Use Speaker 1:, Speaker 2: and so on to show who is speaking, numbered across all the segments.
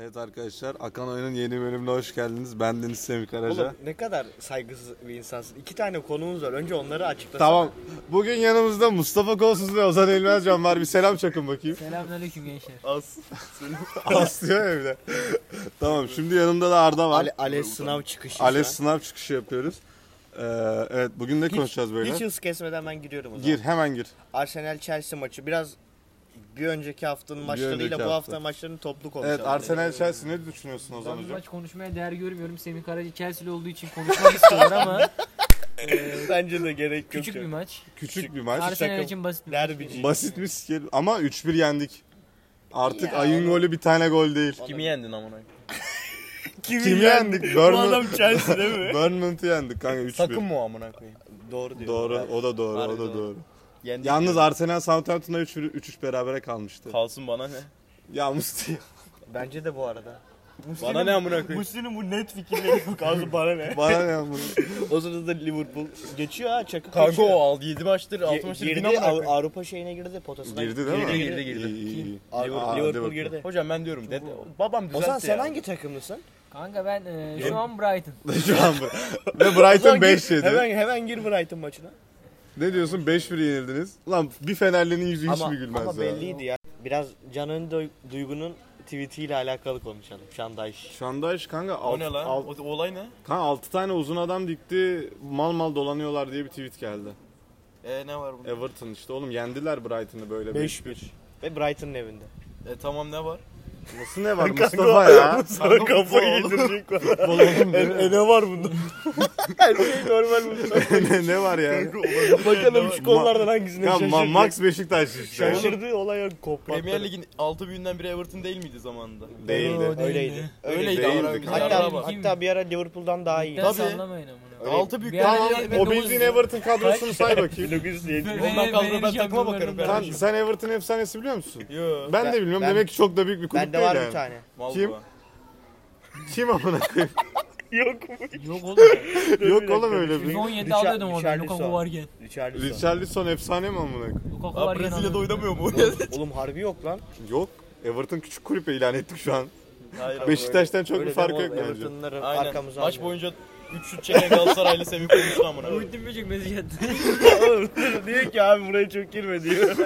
Speaker 1: Evet arkadaşlar Akan Oyun'un yeni bölümüne hoş geldiniz. Ben Deniz Semih Karaca.
Speaker 2: Oğlum ne kadar saygısız bir insansın. İki tane konumuz var. Önce onları açıklasana.
Speaker 1: Tamam. Bugün yanımızda Mustafa Kolsuz ve Ozan Elmezcan var. Bir selam çakın bakayım.
Speaker 3: Selamünaleyküm gençler.
Speaker 2: As.
Speaker 1: Aslıyor evde. tamam şimdi yanımda da Arda var.
Speaker 2: Ale, Ale sınav çıkışı.
Speaker 1: Ales
Speaker 2: şu an.
Speaker 1: sınav çıkışı yapıyoruz. Ee, evet bugün ne konuşacağız böyle?
Speaker 2: Hiç hız kesmeden ben giriyorum o zaman.
Speaker 1: Gir hemen gir.
Speaker 2: Arsenal Chelsea maçı biraz bir önceki haftanın maçlarıyla
Speaker 1: önceki
Speaker 2: bu
Speaker 1: hafta.
Speaker 2: hafta maçlarını toplu konuşalım.
Speaker 1: Evet Arsenal Chelsea ne düşünüyorsun Ozan
Speaker 3: Ben bu
Speaker 1: hocam?
Speaker 3: maç konuşmaya değer görmüyorum. Semih Karaca Chelsea'li olduğu için konuşmak istiyorlar ama
Speaker 2: Ee, Bence de gerek yok.
Speaker 3: küçük bir
Speaker 2: yani.
Speaker 3: maç.
Speaker 1: Küçük bir maç.
Speaker 3: Arsenal
Speaker 2: takım.
Speaker 3: için basit bir maç.
Speaker 2: Derbici.
Speaker 1: Basit bir skill ama 3-1 yendik. Artık
Speaker 2: Ya
Speaker 1: ayın
Speaker 2: oğlum.
Speaker 1: golü bir tane gol değil.
Speaker 4: Kimi yendin amına?
Speaker 2: Kimi
Speaker 1: Kim yendik?
Speaker 2: Bu
Speaker 1: Bournemouth-
Speaker 2: adam Chelsea değil mi?
Speaker 1: Bournemouth'u yendik kanka 3-1.
Speaker 4: Takım mı o amına koyayım?
Speaker 2: doğru diyor.
Speaker 1: Doğru, o da doğru,
Speaker 4: Harbi
Speaker 1: o da
Speaker 4: doğru.
Speaker 1: doğru.
Speaker 4: Yendik
Speaker 1: Yalnız
Speaker 4: ya.
Speaker 1: Arsenal Southampton'la 3-3 berabere kalmıştı.
Speaker 4: kalsın bana ne?
Speaker 1: Ya Musti
Speaker 2: Bence de bu arada.
Speaker 4: Bana ne amına koyayım?
Speaker 2: Musli'nin bu net fikirleri yok abi bana ne?
Speaker 1: bana ne yapın?
Speaker 2: O sırada Liverpool geçiyor ha çakı
Speaker 4: Kanka
Speaker 2: geçiyor.
Speaker 4: o 7 maçtır 6 maçtır
Speaker 2: girdi,
Speaker 4: bin amına
Speaker 2: Av-
Speaker 4: koyayım.
Speaker 2: Avrupa şeyine girdi potasına.
Speaker 1: Girdi değil mi?
Speaker 4: Girdi, girdi, girdi.
Speaker 1: İyi, iyi, iyi.
Speaker 2: Av-
Speaker 1: Aa,
Speaker 2: Liverpool
Speaker 1: hadi
Speaker 2: girdi.
Speaker 4: Hocam ben diyorum dede, babam düzeltti
Speaker 1: şey
Speaker 2: Ozan sen
Speaker 4: ya.
Speaker 2: hangi takımlısın?
Speaker 3: Kanka ben e, şu an Brighton.
Speaker 1: bakalım. Şu an bu. Ve
Speaker 2: Ozan
Speaker 1: Brighton
Speaker 2: gir-
Speaker 1: 5 yedi.
Speaker 2: Hemen hemen gir Brighton maçına.
Speaker 1: Ne diyorsun 5-1 yenildiniz? Lan bir Fenerli'nin yüzü hiç
Speaker 2: ama
Speaker 1: mi gülmez
Speaker 2: ama
Speaker 1: ya?
Speaker 2: belliydi ya. Biraz Can Ön Duygu'nun tweetiyle alakalı konuşalım. Şandayş.
Speaker 1: Şandayş kanka
Speaker 4: O
Speaker 1: alt,
Speaker 4: ne lan?
Speaker 1: alt,
Speaker 4: O, o olay ne?
Speaker 1: kanka 6 tane uzun adam dikti mal mal dolanıyorlar diye bir tweet geldi.
Speaker 4: E ne var bunda?
Speaker 1: Everton işte oğlum yendiler Brighton'ı böyle 5-1.
Speaker 2: Ve Brighton'ın evinde.
Speaker 4: E tamam ne var?
Speaker 1: Nasıl ne var Mustafa ya?
Speaker 4: Kanka, kafayı
Speaker 2: yedirecek bana.
Speaker 1: Balonum
Speaker 2: e,
Speaker 1: ne?
Speaker 2: ne var bunda? Her şey normal bunda.
Speaker 1: ne, ne var yani?
Speaker 2: Bakalım şu kollardan hangisine
Speaker 1: Ya
Speaker 2: şaşırdı.
Speaker 1: Ma- Max Beşiktaş işte.
Speaker 2: Şaşırdığı olay yok koplattı.
Speaker 4: Premier Lig'in 6 büyüğünden biri Everton değil miydi zamanında?
Speaker 1: Değildi.
Speaker 2: Öyleydi.
Speaker 4: Öyleydi
Speaker 1: Değildi
Speaker 4: amına koyayım.
Speaker 1: kanka.
Speaker 2: Hatta,
Speaker 4: Hatta bak.
Speaker 2: hatta bir ara Liverpool'dan daha iyi.
Speaker 3: Tabii.
Speaker 4: Tabii.
Speaker 3: Sallamayın amına.
Speaker 2: Öyle-
Speaker 4: 6 büyük
Speaker 3: Bir ara-
Speaker 4: daha
Speaker 3: bir-
Speaker 1: O bildiğin Everton kadrosunu say bakayım.
Speaker 2: 1907.
Speaker 3: Ve-
Speaker 4: Ondan kaldı
Speaker 3: vereceğim
Speaker 4: ben takıma
Speaker 3: numaranı
Speaker 4: bakarım
Speaker 3: ben.
Speaker 1: Sen,
Speaker 4: kardeşim.
Speaker 1: sen Everton efsanesi biliyor musun?
Speaker 4: Yo.
Speaker 1: Ben,
Speaker 2: Ben-
Speaker 1: de bilmiyorum.
Speaker 2: ben-
Speaker 1: Demek ki çok da büyük bir kulüp
Speaker 2: Bende
Speaker 1: değil
Speaker 2: var
Speaker 1: yani.
Speaker 2: bir tane.
Speaker 4: Mal
Speaker 1: Kim?
Speaker 4: bu.
Speaker 1: Kim amına koyayım?
Speaker 2: Yok mu?
Speaker 3: Yok oğlum.
Speaker 1: Yok oğlum öyle bir.
Speaker 3: 117
Speaker 2: şey. Richard-
Speaker 3: alıyordum orada
Speaker 2: Richarlison.
Speaker 3: Lukaku varken.
Speaker 2: Richarlison.
Speaker 1: Richarlison efsane mi amına koyayım?
Speaker 3: Lukaku
Speaker 4: Aa,
Speaker 3: varken
Speaker 4: Brezilya'da
Speaker 3: alıyordum.
Speaker 4: oynamıyor mu?
Speaker 2: Oğlum harbi yok lan.
Speaker 1: Yok. Everton küçük kulüp ilan ettik şu an.
Speaker 4: Hayır abi.
Speaker 1: Beşiktaş'tan çok bir fark yok bence.
Speaker 2: Everton'ları
Speaker 4: Aynen.
Speaker 2: arkamıza
Speaker 4: Maç boyunca 3 şut çeken Galatasaraylı Semih konuştu amına koyayım.
Speaker 3: Muhittin Böcek mesaj attı.
Speaker 2: diyor ki abi buraya çok girme diyor.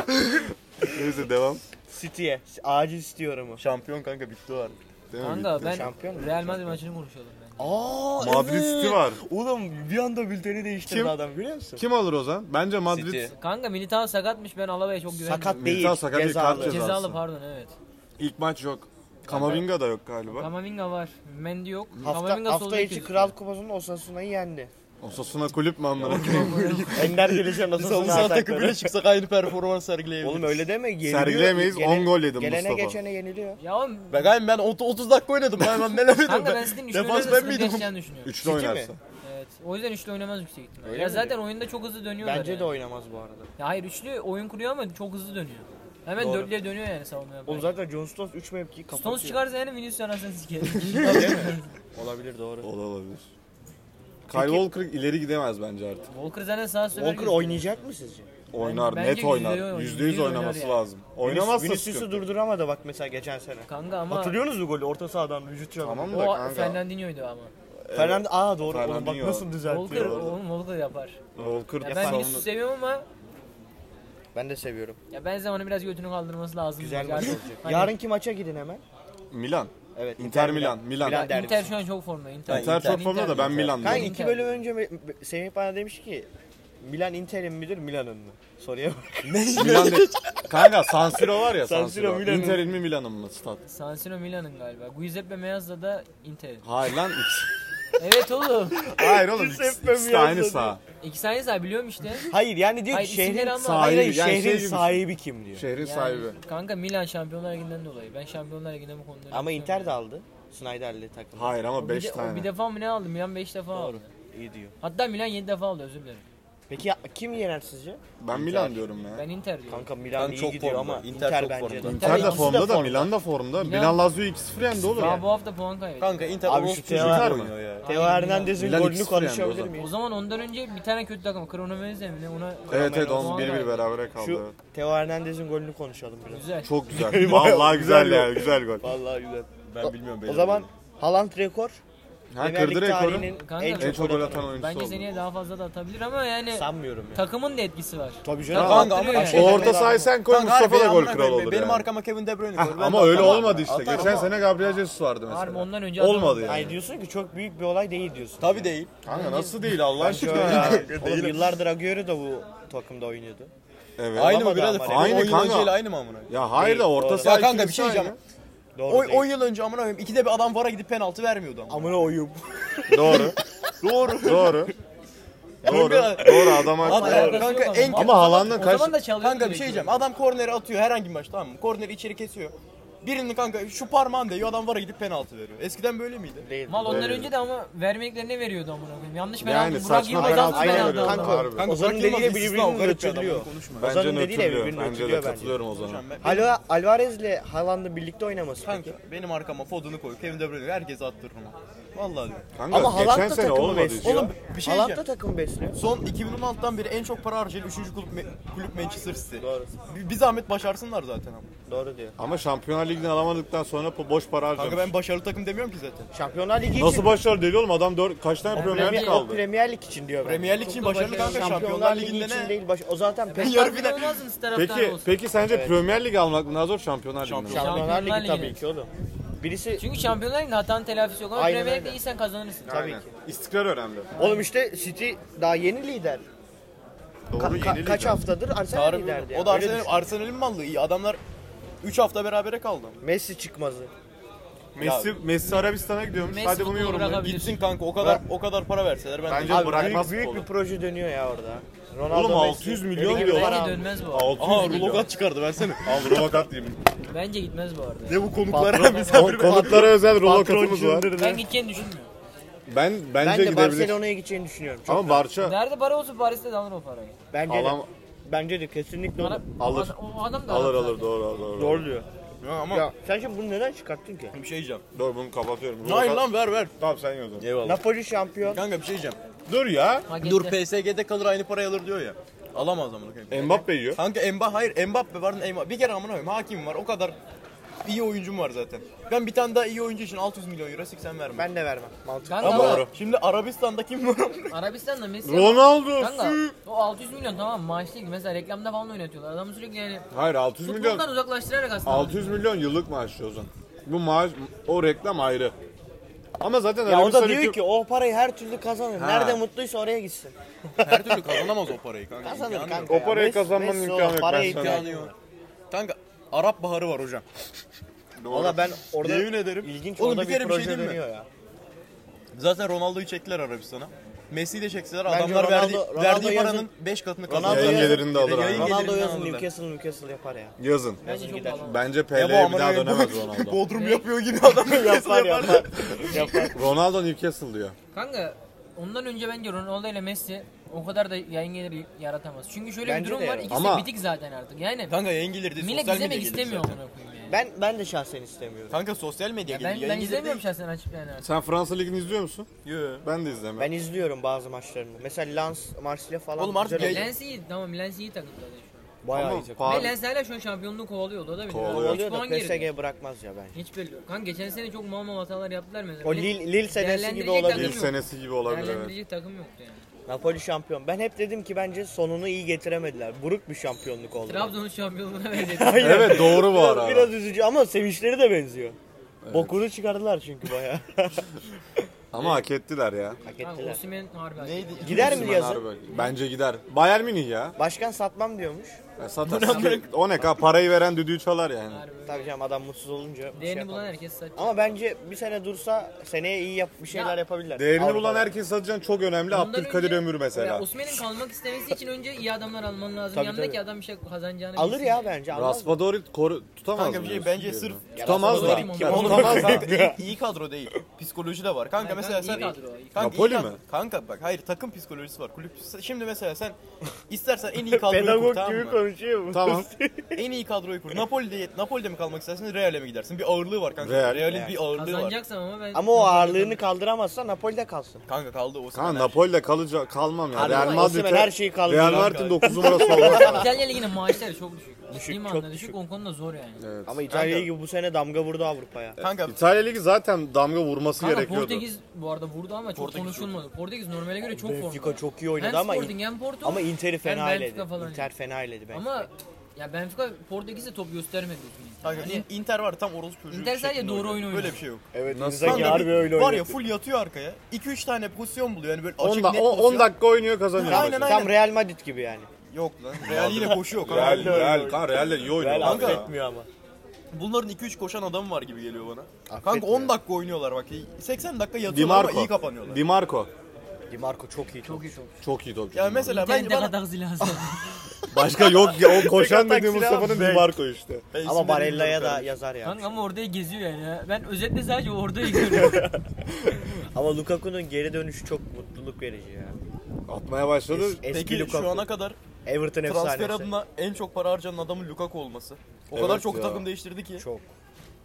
Speaker 1: Neyse devam.
Speaker 2: City'ye. Acil City yorumu.
Speaker 4: Şampiyon kanka bitti var.
Speaker 1: Değil mi?
Speaker 3: Kanka
Speaker 1: Bitti.
Speaker 3: ben
Speaker 2: Şampiyon mu?
Speaker 3: Real Madrid maçını konuşalım ben.
Speaker 2: Aa
Speaker 1: Madrid City var.
Speaker 2: Oğlum bir anda bülteni değiştirdi
Speaker 1: Kim?
Speaker 2: adam biliyor musun?
Speaker 1: Kim alır Ozan? Bence Madrid.
Speaker 4: City.
Speaker 3: Kanka Militao sakatmış ben Alaba'ya çok güvenmiyorum.
Speaker 2: Sakat değil.
Speaker 1: Militao sakat değil,
Speaker 2: cezalı.
Speaker 1: kart cezası.
Speaker 3: Cezalı pardon evet.
Speaker 1: İlk maç yok. Kamavinga da yok galiba.
Speaker 3: Kamavinga var. Mendy yok.
Speaker 2: Hafta,
Speaker 3: Kamavinga solda
Speaker 2: hafta içi
Speaker 3: iki.
Speaker 2: Kral Kupası'nın Osasuna'yı yendi.
Speaker 1: Osasuna kulüp mü amına koyayım?
Speaker 2: Ender gelişen
Speaker 4: Savunma
Speaker 2: Osasuna
Speaker 4: saha takımıyla
Speaker 2: atakları.
Speaker 4: çıksak aynı performans sergileyebiliriz.
Speaker 2: Oğlum öyle deme. yeniliyor.
Speaker 1: Sergileyemeyiz,
Speaker 2: Gelen-
Speaker 1: 10 gol yedim
Speaker 2: gelene
Speaker 1: Mustafa.
Speaker 2: geçene yeniliyor.
Speaker 3: Ya oğlum
Speaker 4: Ben, ben, ben 30 30 dakika oynadım. Ben, ben neler oynadım
Speaker 3: Kanka
Speaker 4: ben.
Speaker 3: ben sizin üçlü
Speaker 4: Defans
Speaker 3: oynamaz
Speaker 4: ben
Speaker 3: sıkıntı
Speaker 4: miydim?
Speaker 3: yaşayacağını düşünüyorum.
Speaker 1: Üçlü
Speaker 2: City mi?
Speaker 1: oynarsa.
Speaker 3: Evet. O yüzden üçlü oynamaz yüksek ihtimal.
Speaker 4: Öyle
Speaker 3: ya
Speaker 4: mi
Speaker 3: zaten
Speaker 4: diyor?
Speaker 3: oyunda çok hızlı dönüyorlar
Speaker 2: Bence
Speaker 3: yani.
Speaker 2: de oynamaz bu arada.
Speaker 3: Ya hayır üçlü oyun kuruyor ama çok hızlı dönüyor. Hemen
Speaker 2: Doğru.
Speaker 3: dörtlüye dönüyor yani savunmaya.
Speaker 2: Oğlum
Speaker 3: Oğlum
Speaker 2: zaten John Stones 3 mevkiyi kapatıyor.
Speaker 3: Stones çıkarsa yani Vinicius anasını sikerim.
Speaker 2: Olabilir doğru.
Speaker 1: O da olabilir. Kyle Walker ileri gidemez bence artık.
Speaker 3: Walker zaten sağ süper.
Speaker 2: Walker oynayacak mı sizce?
Speaker 1: Oynar,
Speaker 3: Bence
Speaker 1: net
Speaker 3: yüzde
Speaker 1: oynar.
Speaker 3: oynar.
Speaker 1: Yüzde
Speaker 3: Yüzde
Speaker 1: yüz
Speaker 3: yüz
Speaker 1: oynaması
Speaker 3: oynar yani.
Speaker 1: lazım. Oynamazsa
Speaker 2: Vinicius'u
Speaker 1: sıkıntı.
Speaker 2: durduramadı bak mesela geçen sene.
Speaker 3: Kanka ama
Speaker 2: Hatırlıyorsunuz mu golü orta sahadan vücut çalımı?
Speaker 1: Tamam da
Speaker 3: o
Speaker 1: kanka.
Speaker 3: Fernandinho'ydu ama.
Speaker 2: Fernand aa doğru oğlum bak
Speaker 1: Fernandinho.
Speaker 2: nasıl
Speaker 3: Walker
Speaker 2: düzeltiyor.
Speaker 3: oğlum Walker yapar.
Speaker 1: Walker
Speaker 3: Ya ben
Speaker 1: savunma-
Speaker 3: Vinicius'u seviyorum ama
Speaker 2: Ben de seviyorum.
Speaker 3: ya ben zamanı biraz götünü kaldırması lazım.
Speaker 2: Güzel
Speaker 3: Yani-
Speaker 2: maç olacak.
Speaker 3: Hani-
Speaker 2: Yarınki maça gidin hemen.
Speaker 1: Milan.
Speaker 2: Evet.
Speaker 1: Inter Milan. Milan.
Speaker 2: Milan
Speaker 3: Ya Inter
Speaker 2: derbisi.
Speaker 3: şu an çok formda. Inter,
Speaker 1: Inter çok
Speaker 3: Inter-
Speaker 1: formda da ben
Speaker 3: Inter.
Speaker 1: Milan
Speaker 2: Kanka
Speaker 1: diyorum.
Speaker 2: iki bölüm önce mi- Semih bana demiş ki Milan Inter'in midir Milan'ın mı? Soruya bak.
Speaker 1: Milan de- Kanka San Siro var ya San
Speaker 2: San Siro,
Speaker 1: Siro.
Speaker 2: Milan'ın.
Speaker 1: Inter'in mi Milan'ın mı stat?
Speaker 3: San Siro Milan'ın galiba. Giuseppe Meazza da Inter.
Speaker 1: Hayır lan ikisi.
Speaker 3: evet oğlum.
Speaker 1: Hayır oğlum ikisi,
Speaker 2: Giuseppe
Speaker 1: ikisi de aynı
Speaker 2: Miazza
Speaker 1: saha.
Speaker 3: İkisi aynı saha biliyorum işte.
Speaker 2: Hayır yani diyor ki
Speaker 3: Hayır,
Speaker 2: şehrin,
Speaker 3: isimleri ama-
Speaker 2: hayır, hayır,
Speaker 1: Sahibi, yani
Speaker 2: şehrin
Speaker 1: şey gibi- Şey-
Speaker 2: sahibi kim diyor.
Speaker 1: Şehrin
Speaker 3: Yani
Speaker 1: sahibi.
Speaker 3: Kanka Milan Şampiyonlar Ligi'nden dolayı. Ben Şampiyonlar Ligi'nde bu konuda...
Speaker 2: Ama Inter de aldı. Snyder'li takım.
Speaker 1: Hayır ama
Speaker 3: Bir,
Speaker 1: 5
Speaker 3: de, o bir
Speaker 1: tane.
Speaker 3: defa mı ne aldı? Milan 5 defa aldı.
Speaker 2: İyi diyor.
Speaker 3: Hatta Milan 7 defa aldı özür dilerim.
Speaker 2: Peki ya- kim yener sizce?
Speaker 1: Ben Milan diyorum ya.
Speaker 3: Ben Inter diyorum.
Speaker 2: Kanka Milan
Speaker 4: Ben
Speaker 2: iyi
Speaker 4: çok
Speaker 2: gidiyor
Speaker 4: formda.
Speaker 2: ama Inter,
Speaker 4: Inter çok
Speaker 2: bence
Speaker 4: formda.
Speaker 2: de.
Speaker 1: Inter de
Speaker 3: Milan-
Speaker 1: formda da Milan da formda.
Speaker 3: Milan-
Speaker 1: Milan Lazio'yu 2-0 yendi oğlum.
Speaker 3: Daha bu hafta puan kaybetti.
Speaker 4: Kanka Inter
Speaker 2: Abi
Speaker 4: Abi
Speaker 2: şu
Speaker 4: şu
Speaker 2: Teo-
Speaker 4: oynuyor ya.
Speaker 2: Teo
Speaker 3: Aynen.
Speaker 2: Hernandez'in
Speaker 1: Milan
Speaker 2: golünü
Speaker 1: 2-0 yendi o
Speaker 2: konuşabilir
Speaker 1: zaman.
Speaker 2: miyiz?
Speaker 3: O zaman ondan önce bir tane kötü takım. Kronomenize mi ne? Ona...
Speaker 1: Evet evet
Speaker 3: Puan
Speaker 1: on bir bir
Speaker 3: kaybetti.
Speaker 1: berabere kaldı.
Speaker 2: Şu Teo Hernandez'in golünü konuşalım biraz.
Speaker 3: Güzel.
Speaker 1: Çok güzel. Vallahi güzel ya. Güzel gol.
Speaker 2: Vallahi güzel.
Speaker 4: Ben bilmiyorum.
Speaker 2: O
Speaker 4: beyler
Speaker 2: zaman
Speaker 4: bunu.
Speaker 2: Haaland rekor.
Speaker 1: Ha
Speaker 2: Premier Lig
Speaker 1: kırdı rekoru.
Speaker 2: tarihinin
Speaker 3: Kanka,
Speaker 2: en
Speaker 1: En
Speaker 2: çok
Speaker 1: çok gol atan oyuncusu
Speaker 3: Bence
Speaker 1: oldu.
Speaker 3: seneye daha fazla da atabilir ama yani
Speaker 2: sanmıyorum ya.
Speaker 3: takımın da etkisi var.
Speaker 2: Tabii
Speaker 4: Ya
Speaker 2: canım.
Speaker 4: kanka ama-
Speaker 3: Attırıyor
Speaker 1: O
Speaker 3: yani.
Speaker 1: orta sahayı sen koy Mustafa
Speaker 4: harbi
Speaker 1: da gol
Speaker 4: amına
Speaker 1: kralı
Speaker 4: koyayım,
Speaker 1: olur.
Speaker 4: Benim
Speaker 1: yani.
Speaker 4: arkama Kevin De Bruyne
Speaker 1: Hah,
Speaker 4: koydu. Ben
Speaker 1: Ah, ama
Speaker 4: de
Speaker 1: öyle
Speaker 4: atamam.
Speaker 1: olmadı işte.
Speaker 4: Atarım
Speaker 1: Geçen
Speaker 4: ama-
Speaker 1: sene Gabriel Jesus vardı mesela.
Speaker 3: Harbi ondan önce
Speaker 1: Olmadı
Speaker 3: adam-
Speaker 1: yani.
Speaker 2: Hayır diyorsun ki çok büyük bir olay değil diyorsun.
Speaker 4: Tabii değil.
Speaker 1: Kanka nasıl değil Allah aşkına
Speaker 2: Ya,
Speaker 1: ya.
Speaker 2: oğlum yıllardır Agüero da bu takımda oynuyordu.
Speaker 1: Evet.
Speaker 4: Aynı mı
Speaker 2: Olamadı
Speaker 4: birader?
Speaker 2: ama.
Speaker 4: Fikri
Speaker 1: Aynı
Speaker 4: on yıl
Speaker 1: kanka.
Speaker 4: önceyle aynı mı amına?
Speaker 1: Ya hayır da orta
Speaker 2: Doğru.
Speaker 1: saha.
Speaker 4: Ya kanka
Speaker 1: ikilisi
Speaker 4: bir şey
Speaker 1: aynı.
Speaker 4: diyeceğim.
Speaker 2: Doğru
Speaker 4: 10
Speaker 2: değil.
Speaker 4: yıl önce amına koyayım ikide bir adam vara gidip penaltı vermiyordu ama.
Speaker 2: Amına oyum.
Speaker 1: Doğru.
Speaker 4: Doğru.
Speaker 1: Doğru. Doğru.
Speaker 4: Kanka-
Speaker 1: Doğru adam haklı.
Speaker 4: Adam-
Speaker 3: Alakası
Speaker 4: Kanka
Speaker 3: yok
Speaker 4: en-
Speaker 1: Ama Haaland'ın
Speaker 3: O
Speaker 1: kaç...
Speaker 3: zaman da çalıyor.
Speaker 4: Kanka bir şey diyeceğim. Adam korneri atıyor herhangi bir maç tamam mı? Korneri içeri kesiyor. Birinin kanka şu parmağın değiyor adam vara gidip penaltı veriyor. Eskiden böyle miydi?
Speaker 2: Değil.
Speaker 3: Mal ondan
Speaker 1: Veriyor.
Speaker 3: önce de ama vermediklerine veriyordu amına koyayım. Yanlış penaltı.
Speaker 1: Yani
Speaker 3: Burak
Speaker 1: saçma
Speaker 3: Yılmaz
Speaker 1: penaltı
Speaker 3: aldı penaltı
Speaker 1: veriyor.
Speaker 3: aldı.
Speaker 2: Kanka,
Speaker 1: Harbi.
Speaker 4: Kanka
Speaker 2: Ozan'ın
Speaker 4: Burak Yılmaz
Speaker 2: dediğiyle
Speaker 4: istisna,
Speaker 2: birbirini
Speaker 4: o garip bir adam,
Speaker 2: götürüyor.
Speaker 4: bunu konuşma.
Speaker 1: Bence
Speaker 2: Ozan'ın dediği de
Speaker 1: nötrlüyor.
Speaker 2: birbirini
Speaker 1: Bence de
Speaker 2: nötrlüyor bence.
Speaker 1: katılıyorum o zaman.
Speaker 4: Ben-
Speaker 2: Alo Alvarez'le Haaland'ın birlikte oynaması
Speaker 4: Kanka
Speaker 2: peki.
Speaker 4: benim arkama Fodun'u koy. Kevin De Bruyne'yi herkese attırırım. ha. Vallahi diyorum.
Speaker 1: Kanka
Speaker 2: Ama Haaland
Speaker 1: geçen
Speaker 2: da
Speaker 1: sene
Speaker 2: takımı
Speaker 1: olmadı hiç.
Speaker 2: besliyor.
Speaker 1: ya.
Speaker 4: Oğlum bir şey
Speaker 2: Haaland da
Speaker 4: diyeceğim.
Speaker 2: takım besliyor.
Speaker 4: Son 2016'dan beri en çok para harcayan 3. kulüp, me- kulüp Manchester City.
Speaker 2: Doğru.
Speaker 4: Bir, bir zahmet başarsınlar zaten ama.
Speaker 2: Doğru diyor.
Speaker 1: Ama Şampiyonlar Ligi'ni alamadıktan sonra po- boş para
Speaker 4: Kanka
Speaker 1: harcamış.
Speaker 4: ben başarılı takım demiyorum ki zaten.
Speaker 2: Şampiyonlar Ligi için.
Speaker 1: Nasıl başarılı değil oğlum? Adam dört, kaç tane Premier Lig
Speaker 2: Premier, o
Speaker 1: aldı?
Speaker 2: Premier Lig için diyor. ben.
Speaker 4: Premier Lig için başarılı kanka
Speaker 2: Şampiyonlar,
Speaker 4: Şampiyonlar
Speaker 2: Ligi
Speaker 4: Ligi'nde
Speaker 2: için
Speaker 4: ne?
Speaker 2: değil. Baş... O zaten pes.
Speaker 4: Yarı
Speaker 3: Yarı olmazsınız taraftar
Speaker 1: Peki,
Speaker 3: olsun.
Speaker 1: peki sence Premier Lig almak mı daha zor Şampiyonlar Ligi'nden? mi?
Speaker 2: Şampiyonlar Ligi
Speaker 3: Şampiyonlar
Speaker 2: tabii
Speaker 3: Ligi.
Speaker 2: ki oğlum. Birisi
Speaker 3: Çünkü şampiyonlar liginde hatanın telafisi yok ama
Speaker 2: Aynen
Speaker 3: Premier
Speaker 2: öyle.
Speaker 3: Lig'de iyisen kazanırsın.
Speaker 2: Tabii
Speaker 1: Aynen.
Speaker 2: ki.
Speaker 1: İstikrar önemli.
Speaker 2: Oğlum işte City daha yeni lider.
Speaker 1: Doğru
Speaker 2: Ka- ka-
Speaker 1: yeni
Speaker 2: kaç
Speaker 1: lig.
Speaker 2: haftadır Arsenal
Speaker 4: Tarık-
Speaker 2: liderdi.
Speaker 4: o da Arsenal, Arsenal'in mallığı. iyi. Adamlar 3 hafta berabere kaldı.
Speaker 2: Messi çıkmazı.
Speaker 1: Messi, Messi Arabistan'a gidiyormuş.
Speaker 3: Messi
Speaker 1: Hadi bunu
Speaker 3: futbolu
Speaker 1: yorumlayın.
Speaker 3: bırakabilir.
Speaker 4: Gitsin kanka o kadar o kadar para verseler ben
Speaker 1: Bence
Speaker 4: Abi,
Speaker 1: bırakmaz
Speaker 2: büyük, büyük
Speaker 1: futbolu.
Speaker 2: bir proje dönüyor ya orada.
Speaker 1: Oğlum
Speaker 2: Messi,
Speaker 1: 600
Speaker 2: böyle
Speaker 1: milyon
Speaker 2: gibi
Speaker 1: diyorlar.
Speaker 2: para
Speaker 3: Bence
Speaker 2: almış.
Speaker 3: dönmez bu arada.
Speaker 1: 600
Speaker 4: Aha
Speaker 1: milyon.
Speaker 4: Rulogat çıkardı versene.
Speaker 1: Al Rulogat diyeyim.
Speaker 3: Bence gitmez bu arada.
Speaker 4: ne bu konuklara misafir
Speaker 1: Konutlara özel Rulokat'ımız var.
Speaker 3: Ben gideceğini düşünmüyorum.
Speaker 1: Ben
Speaker 2: Ben
Speaker 1: bence
Speaker 2: de
Speaker 1: gidebilir.
Speaker 2: Barcelona'ya gideceğini düşünüyorum. Çok
Speaker 1: Ama Barça
Speaker 3: Nerede para olsa Paris'te de alır o parayı.
Speaker 2: bence
Speaker 1: alam
Speaker 2: de. Bence de kesinlikle
Speaker 3: Bana-
Speaker 2: olur.
Speaker 1: Alır.
Speaker 3: O adam da
Speaker 1: alır
Speaker 3: zaten.
Speaker 1: alır doğru doğru.
Speaker 2: Doğru diyor.
Speaker 4: Ya ama
Speaker 2: Ya sen şimdi bunu neden çıkarttın ki?
Speaker 4: bir şey diyeceğim.
Speaker 1: Doğru bunu kapatıyorum.
Speaker 4: Hayır
Speaker 1: Rulogat-
Speaker 4: lan ver ver.
Speaker 1: Tamam sen yaz. onu.
Speaker 4: Eyvallah.
Speaker 2: Napoli şampiyon.
Speaker 4: Kanka bir şey diyeceğim.
Speaker 1: Dur ya.
Speaker 3: Hak
Speaker 4: Dur
Speaker 3: etti.
Speaker 4: PSG'de kalır aynı parayı alır diyor ya. Alamaz amına koyayım.
Speaker 1: Mbappe yiyor.
Speaker 4: Kanka Mba hayır Mbappe var Mbappe. Bir kere amına koyayım hakim var o kadar iyi oyuncum var zaten. Ben bir tane daha iyi oyuncu için 600 milyon euro 80 vermem.
Speaker 2: Ben de vermem. Mantıklı.
Speaker 3: Kanka
Speaker 4: Ama
Speaker 1: Doğru.
Speaker 4: şimdi Arabistan'da kim var?
Speaker 3: Arabistan'da Messi
Speaker 1: Ronaldo.
Speaker 3: Kanka
Speaker 1: sü-
Speaker 3: o 600 milyon tamam maaş değil. Mesela reklamda falan oynatıyorlar. Adamı sürekli yani
Speaker 1: Hayır 600 milyon.
Speaker 3: futboldan uzaklaştırarak aslında.
Speaker 1: 600 milyon yıllık maaşı o zaman. Bu maaş o reklam ayrı. Ama zaten
Speaker 2: Ya o
Speaker 1: Arabistan
Speaker 2: da diyor
Speaker 1: hüküm-
Speaker 2: ki o parayı her türlü kazanır.
Speaker 1: Ha.
Speaker 2: Nerede mutluysa oraya gitsin.
Speaker 4: Her türlü kazanamaz o parayı kanka.
Speaker 2: Kazanır
Speaker 4: İmkanı yok.
Speaker 2: kanka.
Speaker 1: O
Speaker 2: ya.
Speaker 1: parayı
Speaker 2: Messi-
Speaker 1: kazanmanın
Speaker 2: Messi o
Speaker 1: imkanı yok, ben
Speaker 2: paraya
Speaker 1: sana
Speaker 2: imkanı
Speaker 4: İmkanı
Speaker 2: yok.
Speaker 4: yok. Kanka Arap baharı var hocam.
Speaker 1: Doğru.
Speaker 2: Valla ben orada
Speaker 4: Yemin ederim.
Speaker 2: ilginç
Speaker 4: Oğlum
Speaker 2: orada
Speaker 4: bir kere bir
Speaker 2: proje
Speaker 4: şey diyeyim mi?
Speaker 2: dönüyor ya.
Speaker 4: Zaten Ronaldo'yu çektiler Arabistan'a. Messi'yi de çekseler
Speaker 2: Bence
Speaker 4: adamlar
Speaker 2: Ronaldo-
Speaker 4: verdiği,
Speaker 2: Ronaldo
Speaker 4: verdiği
Speaker 2: yazın-
Speaker 4: paranın 5 katını
Speaker 2: Ronaldo
Speaker 4: kazandı.
Speaker 1: Yayın
Speaker 2: yazın-
Speaker 1: gelirini de alır
Speaker 4: Yayın
Speaker 1: abi.
Speaker 4: gelirinden
Speaker 2: Ronaldo yazın
Speaker 4: alırlar.
Speaker 2: Newcastle Newcastle yapar ya.
Speaker 1: Yazın.
Speaker 3: Bence çok pahalı.
Speaker 1: Bence
Speaker 4: Ya bu
Speaker 1: PL'ye bir
Speaker 4: amına
Speaker 1: daha
Speaker 4: koyayım,
Speaker 1: dönemez
Speaker 4: bu-
Speaker 1: Ronaldo.
Speaker 4: Bodrum yapıyor gibi adam
Speaker 2: yapar
Speaker 4: Newcastle
Speaker 2: yapar.
Speaker 4: yapar.
Speaker 2: yapar.
Speaker 1: Ronaldo Newcastle diyor.
Speaker 3: Kanka ondan önce bence Ronaldo ile Messi o kadar da yayın geliri yaratamaz. Çünkü şöyle
Speaker 2: Bence
Speaker 3: bir durum
Speaker 2: de
Speaker 3: var.
Speaker 2: yani.
Speaker 3: İkisi
Speaker 1: Ama-
Speaker 3: bitik zaten artık. Yani
Speaker 4: Kanka yayın gelir diye
Speaker 3: millet
Speaker 4: sosyal medya
Speaker 3: izlemek
Speaker 4: gelir
Speaker 3: istemiyor
Speaker 4: zaten.
Speaker 3: onu koyayım yani.
Speaker 2: Ben ben de şahsen istemiyorum.
Speaker 4: Kanka sosyal medya gelir.
Speaker 3: Ben,
Speaker 4: yayın
Speaker 3: ben
Speaker 4: gelir
Speaker 3: izlemiyorum
Speaker 4: değil.
Speaker 3: şahsen açıp yani. artık.
Speaker 1: Sen Fransa Ligi'ni izliyor musun?
Speaker 4: Yo.
Speaker 1: Ben de izlemiyorum.
Speaker 2: Ben izliyorum bazı maçlarını. Mesela Lens, Marsilya falan.
Speaker 4: Oğlum artık
Speaker 2: güzel
Speaker 4: yayın-
Speaker 2: oynuyor.
Speaker 3: Lens iyi tamam Lens iyi takım zaten şu an.
Speaker 2: bayağı
Speaker 1: Ama
Speaker 2: iyi.
Speaker 1: par-
Speaker 3: Ve Lens hala şu an şampiyonluğu kovalıyor o da bilir.
Speaker 1: Kovalıyor.
Speaker 3: Oluyor
Speaker 2: Oluyor
Speaker 3: puan
Speaker 2: da
Speaker 3: geride.
Speaker 2: PSG bırakmaz ya bence.
Speaker 3: Hiç belli yok. Kanka geçen sene çok mal mal hatalar yaptılar mesela.
Speaker 2: O Lille, Lille senesi gibi
Speaker 3: Değerlendirecek
Speaker 2: olabilir.
Speaker 3: takım
Speaker 1: Bir
Speaker 3: yok.
Speaker 1: senesi gibi olabilir evet.
Speaker 3: Değerlendirecek takım yoktu yani.
Speaker 2: Napoli şampiyon. Ben hep dedim ki bence sonunu iyi getiremediler. Buruk bir şampiyonluk oldu.
Speaker 3: Trabzon'un şampiyonluğuna benzetti.
Speaker 2: Aynen.
Speaker 1: Evet doğru bu
Speaker 2: biraz,
Speaker 1: ara.
Speaker 2: biraz üzücü ama sevinçleri de benziyor. Bokunu çıkardılar çünkü bayağı.
Speaker 1: Ama hak ettiler ya.
Speaker 2: Hak
Speaker 3: Kanka
Speaker 2: ettiler.
Speaker 3: Osimhen harbi. haklı.
Speaker 4: Neydi?
Speaker 2: Gider mi
Speaker 1: Osman
Speaker 2: yazın?
Speaker 1: Harbi. Bence gider. Bayern Münih ya.
Speaker 2: Başkan satmam diyormuş.
Speaker 1: Ya Satar. O ne ka parayı veren düdüğü çalar yani.
Speaker 3: Harbi.
Speaker 2: Tabii canım adam mutsuz olunca bir şey
Speaker 3: Değerini bulan
Speaker 2: yapamaz.
Speaker 3: herkes saç.
Speaker 2: Ama bence bir sene dursa seneye iyi yap bir şeyler
Speaker 3: Ya-
Speaker 2: yapabilirler.
Speaker 1: Değerini
Speaker 2: Avrupa'da.
Speaker 1: bulan herkes satacağın çok önemli.
Speaker 3: Ondan
Speaker 1: Abdülkadir
Speaker 3: önce-
Speaker 1: Ömür mesela.
Speaker 3: Ya Osimhen'in kalmak istemesi için önce iyi adamlar alman lazım.
Speaker 2: Tabii,
Speaker 3: Yanındaki
Speaker 2: tabii.
Speaker 3: adam bir şey kazanacağını
Speaker 2: alır
Speaker 3: bilsin
Speaker 2: ya
Speaker 3: yani.
Speaker 2: bence. Almaz. mı?
Speaker 1: Raspadori koru, tutamaz
Speaker 4: Kanka
Speaker 1: mı
Speaker 4: bir şey
Speaker 1: diyorsun
Speaker 4: bence
Speaker 1: diyorum.
Speaker 4: sırf-
Speaker 1: Tutamaz da.
Speaker 3: Raspadori mi
Speaker 1: Ya
Speaker 3: onlar?
Speaker 1: Tutamaz da.
Speaker 4: Kanka iyi, iyi kadro değil. Psikoloji de var. Kanka
Speaker 3: Hayır,
Speaker 4: mesela
Speaker 3: kanka iyi
Speaker 4: sen
Speaker 3: kadro, iyi
Speaker 4: Kanka,
Speaker 1: Napoli
Speaker 4: iyi
Speaker 1: mi?
Speaker 4: kadro. Kanka bak hayır takım psikolojisi var. Kulüp şimdi mesela sen istersen en iyi kadroyu kur
Speaker 2: Pedagog
Speaker 4: tamam
Speaker 2: gibi
Speaker 4: mı?
Speaker 2: konuşuyor bu.
Speaker 1: Tamam.
Speaker 4: En iyi kadroyu kur. Napoli'de Napoli'de mi kalmak istersin? Real'e mi gidersin? Bir ağırlığı var kanka.
Speaker 1: Real.
Speaker 4: Real'in
Speaker 2: Yani.
Speaker 4: bir ağırlığı var.
Speaker 3: Kazanacaksam ama ben...
Speaker 2: Ama o ağırlığını kaldıramazsa Napoli'de kalsın.
Speaker 4: Kanka kaldı o
Speaker 1: Kanka
Speaker 4: sene.
Speaker 1: Napoli'de kalıca kalmam ya.
Speaker 2: Harbi
Speaker 1: Real
Speaker 2: ama Osimhen
Speaker 1: Madrid'e
Speaker 2: her şey şeyi kaldırıyor
Speaker 1: Real
Speaker 2: kanka.
Speaker 1: Madrid'in 9 numarası olmaz.
Speaker 3: İtalya Ligi'nin maaşları çok düşük. Ciddi
Speaker 4: Düşük, çok
Speaker 3: manada
Speaker 4: düşük.
Speaker 3: düşük. Hong Kong da zor yani.
Speaker 1: Evet.
Speaker 2: Ama İtalya
Speaker 4: Kanka-
Speaker 2: Ligi bu sene damga vurdu Avrupa'ya.
Speaker 4: Kanka
Speaker 1: İtalya Ligi zaten damga vurması
Speaker 3: Kanka
Speaker 1: gerekiyordu.
Speaker 3: Portekiz bu arada vurdu ama çok
Speaker 4: Portekiz
Speaker 3: konuşulmadı. Portekiz normale göre çok
Speaker 2: Benfica
Speaker 3: formda.
Speaker 2: çok iyi oynadı
Speaker 3: Hem
Speaker 2: ama
Speaker 3: Sporting hem Porto
Speaker 2: ama Inter'i
Speaker 3: hem
Speaker 2: fena
Speaker 3: Benfica
Speaker 2: eledi.
Speaker 3: falan.
Speaker 2: Inter fena eledi Benfica.
Speaker 3: Ama ya Benfica Portekiz'e top göstermedi. düzgün.
Speaker 4: Kanka
Speaker 3: Yani
Speaker 4: İn- Inter var tam orospu çocuğu.
Speaker 3: Hani Inter sadece
Speaker 4: şeklinde
Speaker 3: doğru oyun oynuyor.
Speaker 4: Öyle bir şey yok.
Speaker 2: evet
Speaker 1: Nasıl?
Speaker 2: Inzaghi
Speaker 4: Kanka
Speaker 2: harbi
Speaker 4: bir-
Speaker 2: öyle
Speaker 4: Var ya
Speaker 2: oynadı.
Speaker 4: full yatıyor arkaya. 2-3 tane pozisyon buluyor. Yani böyle açık
Speaker 1: 10, da,
Speaker 4: net
Speaker 1: o- 10
Speaker 4: pozisyon.
Speaker 1: dakika oynuyor kazanıyor.
Speaker 4: Aynen,
Speaker 1: maçı.
Speaker 4: aynen.
Speaker 2: Tam Real Madrid gibi yani.
Speaker 4: Yok lan. Real yine koşuyor kanka.
Speaker 1: Real, Real, kan Real de iyi oynuyor.
Speaker 2: Real
Speaker 1: kanka.
Speaker 2: affetmiyor ama.
Speaker 4: Bunların 2-3 koşan adamı var gibi geliyor bana. Kanka
Speaker 2: Affetmiyor.
Speaker 4: 10 dakika oynuyorlar bak. 80 dakika
Speaker 1: Di
Speaker 4: yatıyorlar ama iyi
Speaker 1: Marco.
Speaker 4: kapanıyorlar.
Speaker 1: Di Marco.
Speaker 2: Di Marco çok iyi
Speaker 3: çok
Speaker 2: topçu.
Speaker 3: iyi çok.
Speaker 1: Çok iyi topçu.
Speaker 4: Ya mesela
Speaker 3: İnter'in
Speaker 4: bence
Speaker 3: de
Speaker 4: bana...
Speaker 3: kadar zilası.
Speaker 1: Başka yok ya o koşan
Speaker 2: Tek atak
Speaker 1: dediği
Speaker 2: silahı
Speaker 1: Mustafa'nın Di
Speaker 2: Zek.
Speaker 1: Marco işte.
Speaker 4: Ben isimlerini
Speaker 2: Ama Barella'ya da
Speaker 4: bilmiyorum
Speaker 2: yazar yani.
Speaker 3: Kanka ama orada geziyor yani. ya. Ben özetle sadece orada görüyorum.
Speaker 2: Ama Lukaku'nun geri dönüşü çok mutluluk verici ya.
Speaker 1: Atmaya başladı.
Speaker 2: Es-
Speaker 4: kardeşim.
Speaker 2: eski
Speaker 4: Peki
Speaker 2: Lukaku.
Speaker 4: şu ana kadar
Speaker 2: Everton
Speaker 4: transfer
Speaker 2: efsanesi.
Speaker 4: adına en çok para harcanan adamın Lukaku olması. O
Speaker 1: Evet
Speaker 4: kadar çok
Speaker 1: ya.
Speaker 4: takım değiştirdi ki.
Speaker 2: Çok.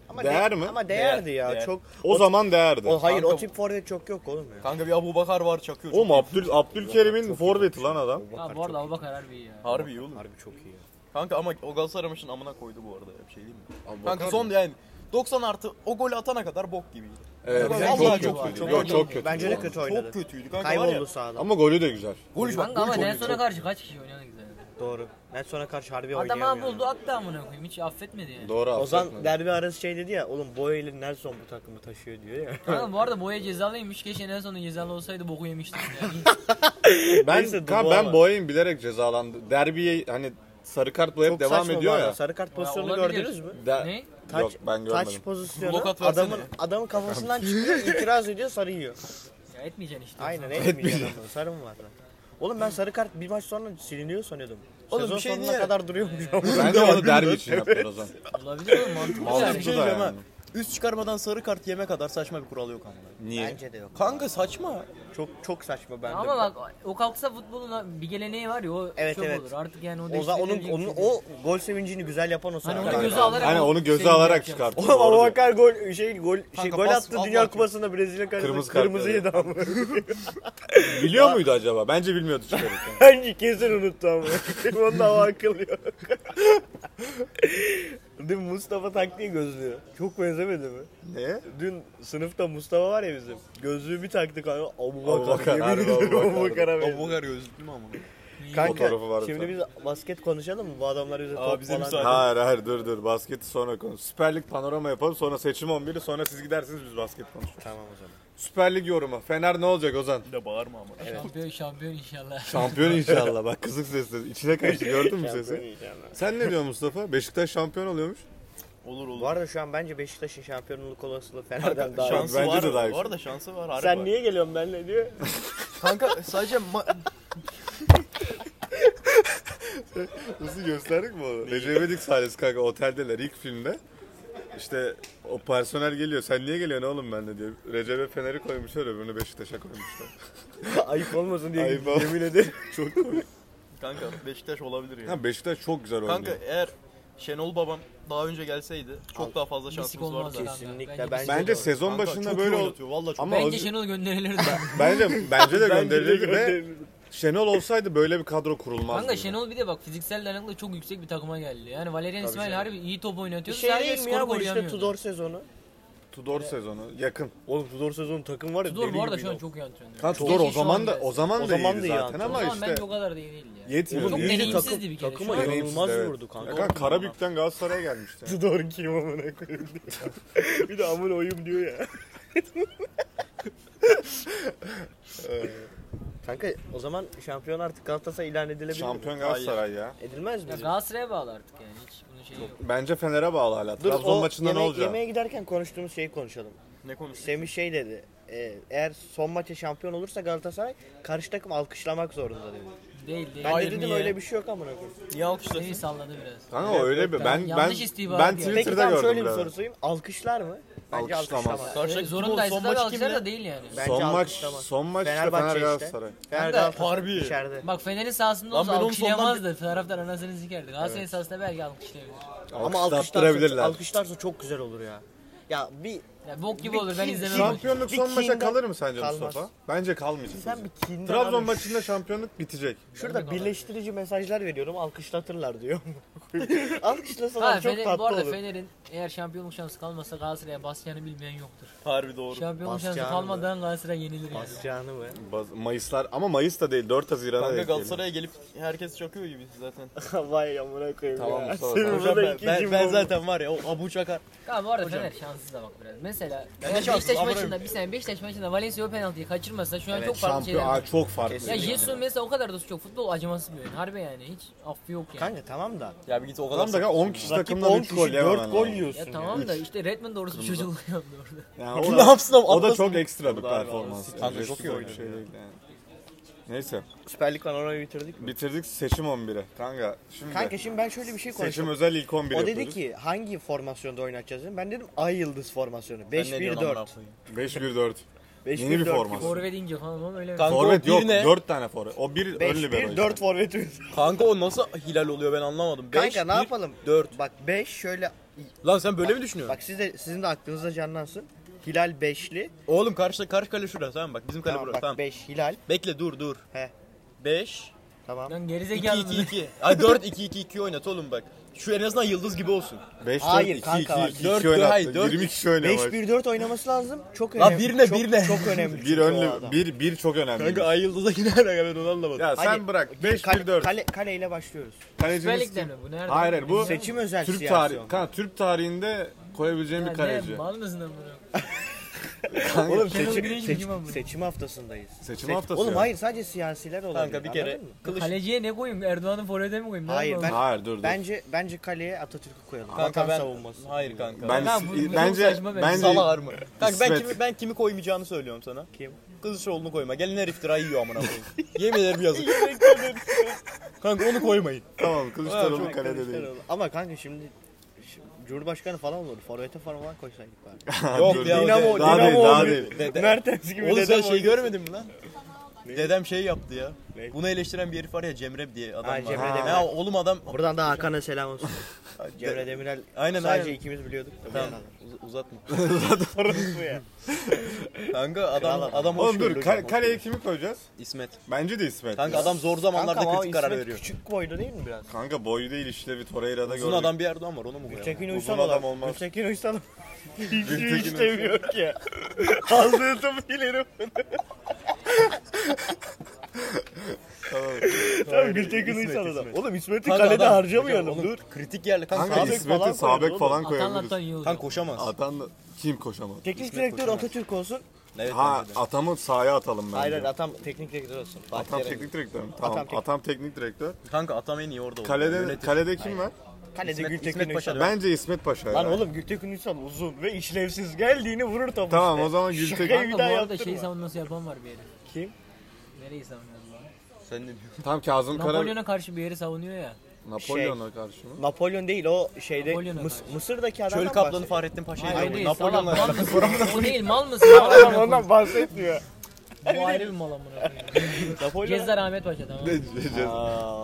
Speaker 2: Ama
Speaker 1: Değer mi?
Speaker 2: Ama değerdi
Speaker 4: Değer,
Speaker 2: ya.
Speaker 4: değer.
Speaker 2: Çok
Speaker 1: O zaman değerdi.
Speaker 2: o, hayır o
Speaker 4: Kanka-
Speaker 2: tip forvet çok yok oğlum ya.
Speaker 4: Kanka bir Abu Bakar var çakıyor.
Speaker 1: Oğlum
Speaker 4: Çok iyi.
Speaker 1: Abdül, Abdülkerim'in forveti lan adam.
Speaker 3: ha bu arada Abubakar harbi iyi ya.
Speaker 4: Harbi iyi oğlum.
Speaker 2: Harbi çok iyi. ya.
Speaker 4: Kanka ama o Galatasaray maçının amına koydu bu arada ya bir şey değil mi?
Speaker 1: Abi
Speaker 4: Kanka
Speaker 1: bakar
Speaker 4: son yani 90 artı o golü atana kadar bok gibiydi.
Speaker 1: Evet, çok,
Speaker 4: Vallahi çok
Speaker 1: kötü.
Speaker 4: kötü.
Speaker 1: Çok,
Speaker 3: Bence-
Speaker 1: çok kötü.
Speaker 2: Bence de kötü oynadı.
Speaker 4: Çok kötüydü kanka var ya.
Speaker 2: Kayboldu sahada.
Speaker 1: Ama golü de güzel.
Speaker 4: Golü bak
Speaker 3: Kanka ama
Speaker 4: golü çok
Speaker 3: Nelson'a
Speaker 4: güzel.
Speaker 3: karşı kaç kişi oynadı güzel.
Speaker 2: Doğru. Nelson'a karşı harbi
Speaker 3: Adam
Speaker 2: oynayamıyor.
Speaker 3: ha buldu attı amına koyayım hiç affetmedi yani.
Speaker 1: Doğru
Speaker 2: Ozan
Speaker 1: affetmedi.
Speaker 2: derbi arası şey dedi ya oğlum Boye ile Nelson bu takımı taşıyor diyor ya.
Speaker 3: Kanka bu arada Boya cezalıymış. Keşke Nelson'un cezalı olsaydı boku yemiştik yani.
Speaker 1: Ben,
Speaker 2: Neyse,
Speaker 1: kan,
Speaker 2: Dubois
Speaker 1: ben
Speaker 2: var.
Speaker 1: Boya'yı bilerek cezalandı. Derbiye hani sarı kartla hep
Speaker 2: Çok
Speaker 1: devam
Speaker 2: saçma bu
Speaker 1: ediyor
Speaker 2: arada.
Speaker 1: ya.
Speaker 2: Sarı kart pozisyonunu
Speaker 3: olabilir.
Speaker 2: gördünüz mü?
Speaker 1: De-
Speaker 3: Ne?
Speaker 1: Yok
Speaker 2: Taç,
Speaker 1: ben
Speaker 2: taç
Speaker 1: görmedim.
Speaker 2: pozisyonu
Speaker 4: Blokat versene.
Speaker 2: adamın adamın kafasından çıkıyor, itiraz ediyor, sarı yiyor.
Speaker 3: ya etmeyeceksin işte.
Speaker 2: Aynen etmeyeceğim adamı. Sarı mı var lan? Oğlum ben sarı kart bir maç sonra siliniyor sanıyordum.
Speaker 4: Oğlum
Speaker 2: Sezon
Speaker 4: bir şey
Speaker 2: sonuna
Speaker 4: diyeyim.
Speaker 2: kadar duruyormuş.
Speaker 1: Bence onu derbi için yaptılar Ozan.
Speaker 3: Olabilir oğlum mantıklı
Speaker 1: Mantıklı.
Speaker 4: Bir
Speaker 3: yani.
Speaker 4: şey
Speaker 1: da
Speaker 4: diyeceğim ha.
Speaker 1: yani.
Speaker 4: Üst çıkarmadan sarı kart yeme kadar saçma bir kural yok kanka.
Speaker 1: Niye?
Speaker 2: Bence de yok.
Speaker 4: Kanka saçma.
Speaker 2: Çok çok saçma bende.
Speaker 3: Ama bak o kalksa futbolun bir geleneği var ya o
Speaker 2: Evet,
Speaker 3: çok
Speaker 2: evet.
Speaker 3: olur. Artık yani o
Speaker 2: o za- onun
Speaker 3: değiştirilecek
Speaker 2: onun
Speaker 3: bir şey değil.
Speaker 2: o gol sevincini güzel yapan o sarı
Speaker 3: Hani
Speaker 2: kart.
Speaker 3: onu göze alarak
Speaker 1: Hani onu göze
Speaker 3: sevinci
Speaker 1: alarak
Speaker 3: yapacağım.
Speaker 1: çıkarttı.
Speaker 2: Şey Oğlum
Speaker 1: Doğru diyor.
Speaker 2: Abubakar gol şey gol şey,
Speaker 4: Kanka
Speaker 2: gol
Speaker 4: pas-
Speaker 2: attı
Speaker 4: Allah
Speaker 2: Dünya
Speaker 4: Allah.
Speaker 2: Kupası'nda Brezilya karşısında
Speaker 1: Kırmızı
Speaker 2: kırmızı,
Speaker 1: kart,
Speaker 2: yedi ama.
Speaker 1: Biliyor muydu acaba? Bence bilmiyordu çıkarırken.
Speaker 2: Bence kesin unuttu ama. Onun da o akıl yok. Dün Mustafa taktiği gözlüyor. Çok benzemedi mi?
Speaker 1: Ne?
Speaker 2: Dün sınıfta Mustafa var ya bizim. Gözlüğü bir taktı kanka.
Speaker 1: Abubakar,
Speaker 2: Abubakar.
Speaker 1: harbi
Speaker 2: Yemin ediyorum
Speaker 1: Abubakar.
Speaker 2: Abubakar'a benziyor.
Speaker 4: Abu Bakar gözlüklü mü amına?
Speaker 2: Kanka
Speaker 1: Fotoğrafı var bir
Speaker 2: şimdi biz basket konuşalım mı? Bu adamlar bize
Speaker 4: Aa,
Speaker 2: top
Speaker 4: bize
Speaker 2: falan.
Speaker 4: müsaade.
Speaker 1: Hayır hayır dur dur basketi sonra konuş. Süper Lig panorama yapalım sonra seçim 11'i sonra siz gidersiniz biz basket konuşuruz.
Speaker 2: Tamam o zaman.
Speaker 1: Süper Lig yorumu. Fener ne olacak Ozan?
Speaker 4: Bir de bağırma amına.
Speaker 3: Şampiyon şampiyon inşallah.
Speaker 1: Şampiyon inşallah bak kızık sesleri. İçine kaçtı gördün mü
Speaker 2: Şampiyon
Speaker 1: sesi?
Speaker 2: yiyeceğim ben.
Speaker 1: Sen ne diyorsun Mustafa? Beşiktaş şampiyon oluyormuş.
Speaker 4: Olur olur.
Speaker 2: Bu arada şu an bence Beşiktaş'ın şampiyonluk olasılığı Fener'den daha iyi.
Speaker 4: şansı
Speaker 1: Bence
Speaker 4: var.
Speaker 1: de daha
Speaker 4: var
Speaker 1: yüksek.
Speaker 4: da şansı var. harbi
Speaker 2: Sen
Speaker 4: var.
Speaker 2: niye geliyorsun benimle diyor.
Speaker 4: Kanka sadece ma-
Speaker 1: Nasıl gösterdik mi onu? Recep İvedik sahnesi kanka oteldeler ilk filmde. İşte o personel geliyor. Sen niye geliyorsun oğlum benle diyor. Recep'e Fener'i koymuşlar öbürünü Beşiktaş'a koymuşlar.
Speaker 2: Ayıp olmasın diye
Speaker 1: Ayıp ol-
Speaker 2: yemin ederim.
Speaker 1: çok komik.
Speaker 4: kanka Beşiktaş olabilir ya.
Speaker 1: Ha, Beşiktaş çok güzel oynuyor.
Speaker 4: Kanka eğer Şenol babam daha önce gelseydi çok daha fazla
Speaker 3: Bisik
Speaker 4: şansımız
Speaker 3: olmaz
Speaker 4: vardı.
Speaker 3: kanka.
Speaker 2: Kesinlikle, bence-
Speaker 3: Bence, bence,
Speaker 1: Bence
Speaker 2: Kanka,
Speaker 1: sezon
Speaker 4: Kanka
Speaker 1: başında
Speaker 4: çok
Speaker 1: böyle
Speaker 4: iyi
Speaker 1: ol...
Speaker 4: oynatıyor, Vallahi çok.
Speaker 1: Ama
Speaker 3: bence
Speaker 1: Ozi-
Speaker 3: Şenol gönderilirdi.
Speaker 1: Bence bence de gönderilirdi ve
Speaker 2: gönderilirdi.
Speaker 1: Şenol olsaydı böyle bir kadro kurulmazdı.
Speaker 3: Kanka Şenol bir de bak fiziksel dayanıklı çok yüksek bir takıma geldi. Yani Valerian İsmail harbi iyi top
Speaker 2: Bir
Speaker 3: oynatıyor.
Speaker 2: şey
Speaker 3: sadece
Speaker 2: değil mi
Speaker 3: skoru
Speaker 2: ya bu işte
Speaker 3: koruyamıyordu.
Speaker 2: Tudor sezonu.
Speaker 1: Tudor sezonu yakın.
Speaker 2: Oğlum Tudor sezonu takım var ya
Speaker 3: Tudor bu arada
Speaker 2: gibi
Speaker 3: şu an
Speaker 2: ya.
Speaker 3: çok iyi antrenör.
Speaker 1: Ha, Tudor o zaman da o zaman
Speaker 2: O
Speaker 1: da
Speaker 2: zaman
Speaker 1: iyiydi
Speaker 2: da iyi
Speaker 1: zaten
Speaker 2: yani.
Speaker 1: ama
Speaker 3: Ama
Speaker 1: işte
Speaker 3: bence o kadar da iyi değildi ya.
Speaker 1: yetmiyor.
Speaker 3: Çok
Speaker 1: İyi.
Speaker 2: İyice
Speaker 3: deneyimsizdi
Speaker 2: takım-
Speaker 3: bir kere.
Speaker 2: takıma
Speaker 3: Şu an-
Speaker 2: yönelik. İnanılmaz
Speaker 1: Evet.
Speaker 2: vurdu kanka.
Speaker 1: Ya kanka Karabük'ten Galatasaray'a gelmişti.
Speaker 2: Tudor kim amına koyayım diyor. bir de amına oyum diyor ya. Kanka o zaman şampiyon artık Galatasaray ilan edilebilir mi?
Speaker 1: Şampiyon Galatasaray ya.
Speaker 2: Edilmez mi?
Speaker 3: Ya Galatasaray'a bağlı artık yani hiç bunun şeyi yok.
Speaker 1: Bence Fener'e bağlı hala.
Speaker 2: Dur,
Speaker 1: Trabzon
Speaker 2: o
Speaker 1: maçında ne
Speaker 2: yemeğe-
Speaker 1: olacak?
Speaker 2: Yemeğe giderken konuştuğumuz şeyi konuşalım.
Speaker 4: Ne konuşuyorsun?
Speaker 2: Semih şey dedi. e, eğer son maça şampiyon olursa Galatasaray karşı takım alkışlamak zorunda dedi.
Speaker 3: Değil değil.
Speaker 2: Ben
Speaker 4: Hayır,
Speaker 2: de dedim
Speaker 4: niye?
Speaker 2: öyle bir şey yok amına koyayım.
Speaker 4: Niye alkışlasın?
Speaker 3: Seni salladı biraz.
Speaker 1: Kanka öyle bir ben ben
Speaker 3: Yanlış istihbarat
Speaker 1: ben
Speaker 3: yani.
Speaker 2: Peki
Speaker 1: Twitter'da
Speaker 2: tamam şöyle
Speaker 1: gördüm
Speaker 2: bir
Speaker 1: biraz.
Speaker 2: soru sorayım. Alkışlar mı? Bence
Speaker 1: Alkışlamaz.
Speaker 2: alkışlamaz.
Speaker 4: Karşı
Speaker 3: Ee,
Speaker 4: takım
Speaker 3: Zorundaysa
Speaker 4: son
Speaker 3: da
Speaker 4: maçı
Speaker 3: Galatasaray
Speaker 4: kimle?
Speaker 3: da değil yani.
Speaker 2: Bence
Speaker 1: Son maç
Speaker 2: alkışlamaz.
Speaker 1: son maç işte
Speaker 2: Fenerbahçe
Speaker 1: Fener
Speaker 2: işte.
Speaker 1: Galatasaray.
Speaker 2: Fener
Speaker 3: Kanka,
Speaker 2: Galatasaray
Speaker 4: harbi.
Speaker 2: içeride.
Speaker 3: Bak Fener'in sahasında
Speaker 4: Lan
Speaker 3: olsa
Speaker 4: ben onun
Speaker 3: alkışlayamazdı. Taraftar anasını sikerdi. Galatasaray'ın sahasında belki alkışlayabilir.
Speaker 2: Ama
Speaker 1: Alkışlattırabilirler.
Speaker 2: alkışlarsa, alkışlarsa çok güzel olur ya. Ya bir
Speaker 3: Ya bok gibi olur ben
Speaker 2: Bir-
Speaker 3: izlemem.
Speaker 2: Şamp-
Speaker 1: Şampiyonluk
Speaker 2: Bir
Speaker 1: son maça
Speaker 2: kinden-
Speaker 1: kalır mı sence
Speaker 2: Kalmaz.
Speaker 1: Mustafa? Bence kalmayacak.
Speaker 2: Sen bir kinden
Speaker 1: Trabzon
Speaker 2: alıyorsun.
Speaker 1: maçında şampiyonluk bitecek.
Speaker 2: Şurada birleştirici mesajlar veriyorum alkışlatırlar diyor.
Speaker 3: Ha,
Speaker 2: Alkışlasalar çok
Speaker 3: Fener-
Speaker 2: tatlı
Speaker 3: bu arada
Speaker 2: olur.
Speaker 3: Fener'in eğer şampiyonluk şansı kalmasa Galatasaray'a basacağını bilmeyen yoktur.
Speaker 4: Harbi doğru.
Speaker 3: Şampiyonluk şansı
Speaker 2: Basacağını
Speaker 3: kalmadan Galatasaray yenilir yani.
Speaker 2: Basacağını mı?
Speaker 1: Baz- Mayıslar ama Mayıs da değil 4 Haziran'a
Speaker 4: Kanka
Speaker 1: denk geliyor.
Speaker 4: Galatasaray'a gelip herkes çakıyor gibi zaten.
Speaker 2: Vay amına koyayım
Speaker 1: Tamam,
Speaker 2: ya.
Speaker 1: Mustafa,
Speaker 2: Senin
Speaker 1: tamam.
Speaker 2: burada
Speaker 4: Hocam ben,
Speaker 2: ikinci
Speaker 4: ben, ben
Speaker 2: bomba.
Speaker 4: zaten var ya o abu çakar.
Speaker 3: Tamam bu arada Fener şanssız da bak biraz. Mesela
Speaker 4: Ben
Speaker 3: eğer
Speaker 4: de şanssız,
Speaker 3: Beşiktaş
Speaker 4: amına
Speaker 3: maçında
Speaker 4: koyayım.
Speaker 3: bir sene Beşiktaş maçında Valencia o penaltıyı kaçırmasa şu an çok farklı
Speaker 1: Şampiyon
Speaker 3: şeyler.
Speaker 1: Aa, çok farklı.
Speaker 3: Ya Yesun mesela o kadar da çok futbol acımasız bir oyun. Harbi yani hiç affı yok yani.
Speaker 2: Kanka tamam da.
Speaker 4: Ya bir git o
Speaker 1: Adam
Speaker 4: kadar
Speaker 1: da
Speaker 4: da.
Speaker 1: ya 10 kişi
Speaker 2: Rakip
Speaker 1: takımdan
Speaker 2: 10
Speaker 1: 3 gol
Speaker 2: kişi
Speaker 1: yemen
Speaker 2: 4 gol
Speaker 1: lazım.
Speaker 2: yiyorsun.
Speaker 3: Ya
Speaker 2: ya.
Speaker 3: tamam da işte Redmond doğrusu çocuk uyandı orada.
Speaker 1: Yani
Speaker 4: Ne
Speaker 1: o, da,
Speaker 4: yapsın ama
Speaker 1: o da
Speaker 4: atlasın.
Speaker 1: çok ekstra bir
Speaker 4: Vallahi
Speaker 1: performans.
Speaker 4: vallahi. Kanka
Speaker 1: Yani
Speaker 4: çok iyi
Speaker 1: bir
Speaker 4: oynadı
Speaker 1: şey
Speaker 4: ya.
Speaker 1: değil yani. Neyse
Speaker 2: Süper Lig panoramayı bitirdik mi?
Speaker 1: bitirdik seçim 11'e. Kanka şimdi
Speaker 2: Kanka şimdi ben şöyle bir şey
Speaker 1: seçim
Speaker 2: konuştum.
Speaker 1: özel ilk 11
Speaker 2: O
Speaker 1: yapıyoruz.
Speaker 2: dedi ki hangi formasyonda oynatacağız dedim. Ben dedim ay yıldız formasyonu. 5-1-4.
Speaker 1: 5-1-4.
Speaker 2: 5-1-4.
Speaker 1: Yeni bir formasyon.
Speaker 3: Forvet ince falan oğlum öyle mi?
Speaker 4: Kanka
Speaker 1: Forvet
Speaker 4: o
Speaker 1: yok
Speaker 4: birine-
Speaker 1: 4 tane forvet. O 1 ön libero.
Speaker 2: 5-1-4 forvetimiz.
Speaker 4: Kanka o nasıl hilal oluyor ben anlamadım. Beş,
Speaker 2: Kanka ne
Speaker 4: bir-
Speaker 2: yapalım?
Speaker 4: 4.
Speaker 2: Bak 5 şöyle
Speaker 4: Lan sen böyle mi düşünüyorsun?
Speaker 2: bak siz de sizin de aklınızda canlansın. Hilal 5'li.
Speaker 4: Oğlum karşı, karşı kale şurada tamam bak bizim kale
Speaker 2: Tamam
Speaker 4: burası tamam.
Speaker 2: bak 5 Hilal.
Speaker 4: Bekle dur dur.
Speaker 2: He
Speaker 4: 5
Speaker 2: tamam.
Speaker 3: Lan gerizekalı
Speaker 4: 2 2 2. Ay 4 2 2 2 oynat oğlum bak. Şu en azından yıldız gibi olsun.
Speaker 1: 5
Speaker 2: Hayır,
Speaker 1: 4 2 2
Speaker 2: kanka bak.
Speaker 1: 2
Speaker 4: Dört-
Speaker 1: 2 oynattı.
Speaker 4: hayır, dört-
Speaker 1: 20 kişi oynamış.
Speaker 2: 5-1-4 oynaması lazım. Çok
Speaker 4: Lan
Speaker 2: önemli.
Speaker 4: birine,
Speaker 2: çok,
Speaker 4: birine.
Speaker 2: Çok önemli.
Speaker 1: Bir
Speaker 2: çünkü o
Speaker 1: önlü
Speaker 2: adam.
Speaker 1: bir bir çok önemli.
Speaker 4: Kanka ay yıldıza gider ya ben onu anlamadım.
Speaker 1: ya sen
Speaker 2: Hadi,
Speaker 1: bırak
Speaker 2: Kale,
Speaker 1: 5 1 4.
Speaker 2: kale, kaleyle başlıyoruz.
Speaker 3: Süper
Speaker 1: Kalecimiz
Speaker 3: Lig'de
Speaker 1: kim?
Speaker 3: mi bu? Nerede?
Speaker 1: Hayır hayır bu
Speaker 2: Seçim özel
Speaker 1: Türk
Speaker 2: siyasi
Speaker 1: tarihi.
Speaker 2: oldu.
Speaker 1: Kanka Türk tarihinde koyabileceğim
Speaker 3: Ya
Speaker 1: bir
Speaker 3: ne,
Speaker 1: kaleci.
Speaker 3: Mal mısın amına?
Speaker 1: Kanka,
Speaker 2: Oğlum
Speaker 3: Kenan
Speaker 2: seçim,
Speaker 3: Güneş
Speaker 2: seçim-
Speaker 3: kim amına?
Speaker 2: seçim haftasındayız.
Speaker 1: seçim
Speaker 2: Seç-
Speaker 1: haftası.
Speaker 2: Oğlum
Speaker 1: ya.
Speaker 2: hayır sadece siyasiler olabilir.
Speaker 4: Kanka bir kere
Speaker 2: anladın mı?
Speaker 4: kılıç
Speaker 3: Kaleciye ne koyayım? Erdoğan'ın forvete mi koyayım? Ne
Speaker 2: Hayır,
Speaker 3: yapalım?
Speaker 1: Hayır dur dur.
Speaker 2: Bence bence kaleye Atatürk'ü koyalım.
Speaker 4: kanka
Speaker 2: Vatan
Speaker 4: ben
Speaker 2: savunması.
Speaker 4: Hayır kanka.
Speaker 1: ben
Speaker 3: Ya bu- bu çok
Speaker 1: bence
Speaker 3: saçma bence.
Speaker 1: bence
Speaker 4: Salah var mı? Kanka ben
Speaker 1: İsmet.
Speaker 4: kimi ben kimi koymayacağını söylüyorum sana.
Speaker 2: Kim?
Speaker 4: Kılıçdaroğlu'nu koyma. Gelin her iftira yiyor amına koyayım. Yemin ederim yazık. kanka onu koymayın.
Speaker 1: tamam Kılıçdaroğlu
Speaker 2: Çok
Speaker 1: kalede değil.
Speaker 2: Kılıçdaroğlu. Ama kanka şimdi şimdi Cumhurbaşkanı falan olur. Forvete falan var koysaydık bari.
Speaker 4: Yok
Speaker 1: Dur,
Speaker 4: ya.
Speaker 1: dur.
Speaker 4: Dinamo,
Speaker 1: daha
Speaker 4: Dinamo
Speaker 1: değil, daha
Speaker 4: olur.
Speaker 1: değil.
Speaker 4: Dede-
Speaker 2: Mertens gibi
Speaker 4: Oğlum sen
Speaker 2: dedem
Speaker 4: şey
Speaker 2: oynuyor.
Speaker 4: görmedin mi lan? Dedem şey yaptı ya.
Speaker 2: Ne?
Speaker 4: Bunu eleştiren bir herif var ya Cemre diye adam
Speaker 2: Ha,
Speaker 4: var.
Speaker 2: Cemre
Speaker 4: Ha.
Speaker 2: Demirel.
Speaker 4: Ya oğlum adam
Speaker 2: Buradan da Hakan'a selam olsun. Cemre
Speaker 4: De-
Speaker 2: Demirel
Speaker 4: Aynen,
Speaker 2: sadece
Speaker 4: aynen.
Speaker 2: ikimiz biliyorduk. da
Speaker 4: Tamam
Speaker 2: bu
Speaker 4: uz- uzatma.
Speaker 2: kadar. bu ya.
Speaker 4: Kanka adam
Speaker 2: adam.
Speaker 4: adam hoş
Speaker 1: Oğlum dur
Speaker 4: görülür
Speaker 1: ka-
Speaker 4: hocam, hoş
Speaker 1: kaleye
Speaker 4: görülür.
Speaker 1: kimi koyacağız?
Speaker 4: İsmet.
Speaker 1: Bence de İsmet.
Speaker 4: Kanka adam zor zamanlarda
Speaker 2: Kanka ama
Speaker 4: kritik karar
Speaker 2: İsmet
Speaker 4: veriyor.
Speaker 2: küçük boylu değil mi biraz?
Speaker 1: Kanka boyu değil işlevi Torreira'da gördük.
Speaker 4: Uzun adam bir Erdoğan var onu mu koyalım?
Speaker 2: Gültekin
Speaker 1: Uzun
Speaker 2: Uysal
Speaker 1: adam
Speaker 2: adam
Speaker 1: olmaz.
Speaker 2: olmaz. Gültekin Uysal hiç
Speaker 1: Gültekin Uysal.
Speaker 2: istemiyor ki. Ağzını top ileri
Speaker 1: Tamam.
Speaker 2: Tamam Gültekin
Speaker 4: İsmet,
Speaker 2: Uysal adam.
Speaker 4: İsmet.
Speaker 2: Oğlum İsmet'i
Speaker 4: Kanka
Speaker 2: kalede
Speaker 4: adam-
Speaker 2: harcamayalım
Speaker 4: Hocam, oğlum
Speaker 2: dur.
Speaker 4: Kritik yerli kanka.
Speaker 1: Kanka
Speaker 4: Kanka,
Speaker 2: Sabek falan
Speaker 1: İsmet'e Sabek
Speaker 2: koyalım
Speaker 1: falan
Speaker 3: Atan'la
Speaker 1: koyabiliriz.
Speaker 3: Atan iyi olur.
Speaker 4: kanka koşamaz.
Speaker 1: Atan kim koşamaz?
Speaker 2: Teknik
Speaker 4: İsmet
Speaker 2: direktör
Speaker 4: koşamaz.
Speaker 2: Atatürk olsun.
Speaker 4: evet,
Speaker 1: Ha
Speaker 4: bence de.
Speaker 1: Atam'ı sahaya atalım bence.
Speaker 2: Hayır hayır Atam teknik direktör olsun.
Speaker 1: Atam teknik direktör mü? Tamam.
Speaker 2: Atam
Speaker 1: Atam, teknik
Speaker 2: teknik-
Speaker 1: direktör.
Speaker 4: kanka atam en iyi orada olur.
Speaker 1: Kalede
Speaker 4: Yönetim.
Speaker 1: kalede kim var?
Speaker 2: Kalede
Speaker 4: İsmet-
Speaker 2: Gültekin
Speaker 4: İsmet Paşa
Speaker 2: Uysal.
Speaker 4: da-
Speaker 1: Bence İsmet Paşa.
Speaker 2: Lan
Speaker 1: ya.
Speaker 2: oğlum Gültekin Uysal uzun ve işlevsiz geldiğini vurur topu
Speaker 1: Tamam
Speaker 2: işte.
Speaker 1: o zaman
Speaker 2: Şaka
Speaker 1: Gültekin.
Speaker 2: gibi.
Speaker 3: Kanka
Speaker 2: Bir
Speaker 3: bu
Speaker 2: daha
Speaker 3: arada
Speaker 2: yaptırma.
Speaker 3: şey savunması yapan var bir yeri.
Speaker 2: Kim?
Speaker 3: Nereyi savunuyor bu?
Speaker 4: Sen ne diyorsun?
Speaker 1: Tam Kazım Kara
Speaker 3: Napolyon'a karşı bir yeri savunuyor ya.
Speaker 1: Napolyon'a karşı mı?
Speaker 2: Napolyon değil o şeyde
Speaker 3: Napolyon'a
Speaker 2: Mıs-
Speaker 3: karşı.
Speaker 2: Mısır'daki adamdan
Speaker 4: Çöl kaplanı
Speaker 2: bahsediyor.
Speaker 4: Fahrettin Paşa'yı
Speaker 3: Hayır o
Speaker 4: diyor.
Speaker 3: değil.
Speaker 4: Napolyon'la
Speaker 3: salak, mal
Speaker 4: alakalı.
Speaker 3: mısın? o değil mal mısın? Amına
Speaker 2: Adam
Speaker 3: koyayım.
Speaker 2: ondan bahsetmiyor.
Speaker 3: Bu ayrı bir mal amına koyayım.
Speaker 2: Napolyon.
Speaker 3: Gezdar Ahmet Paşa tamam.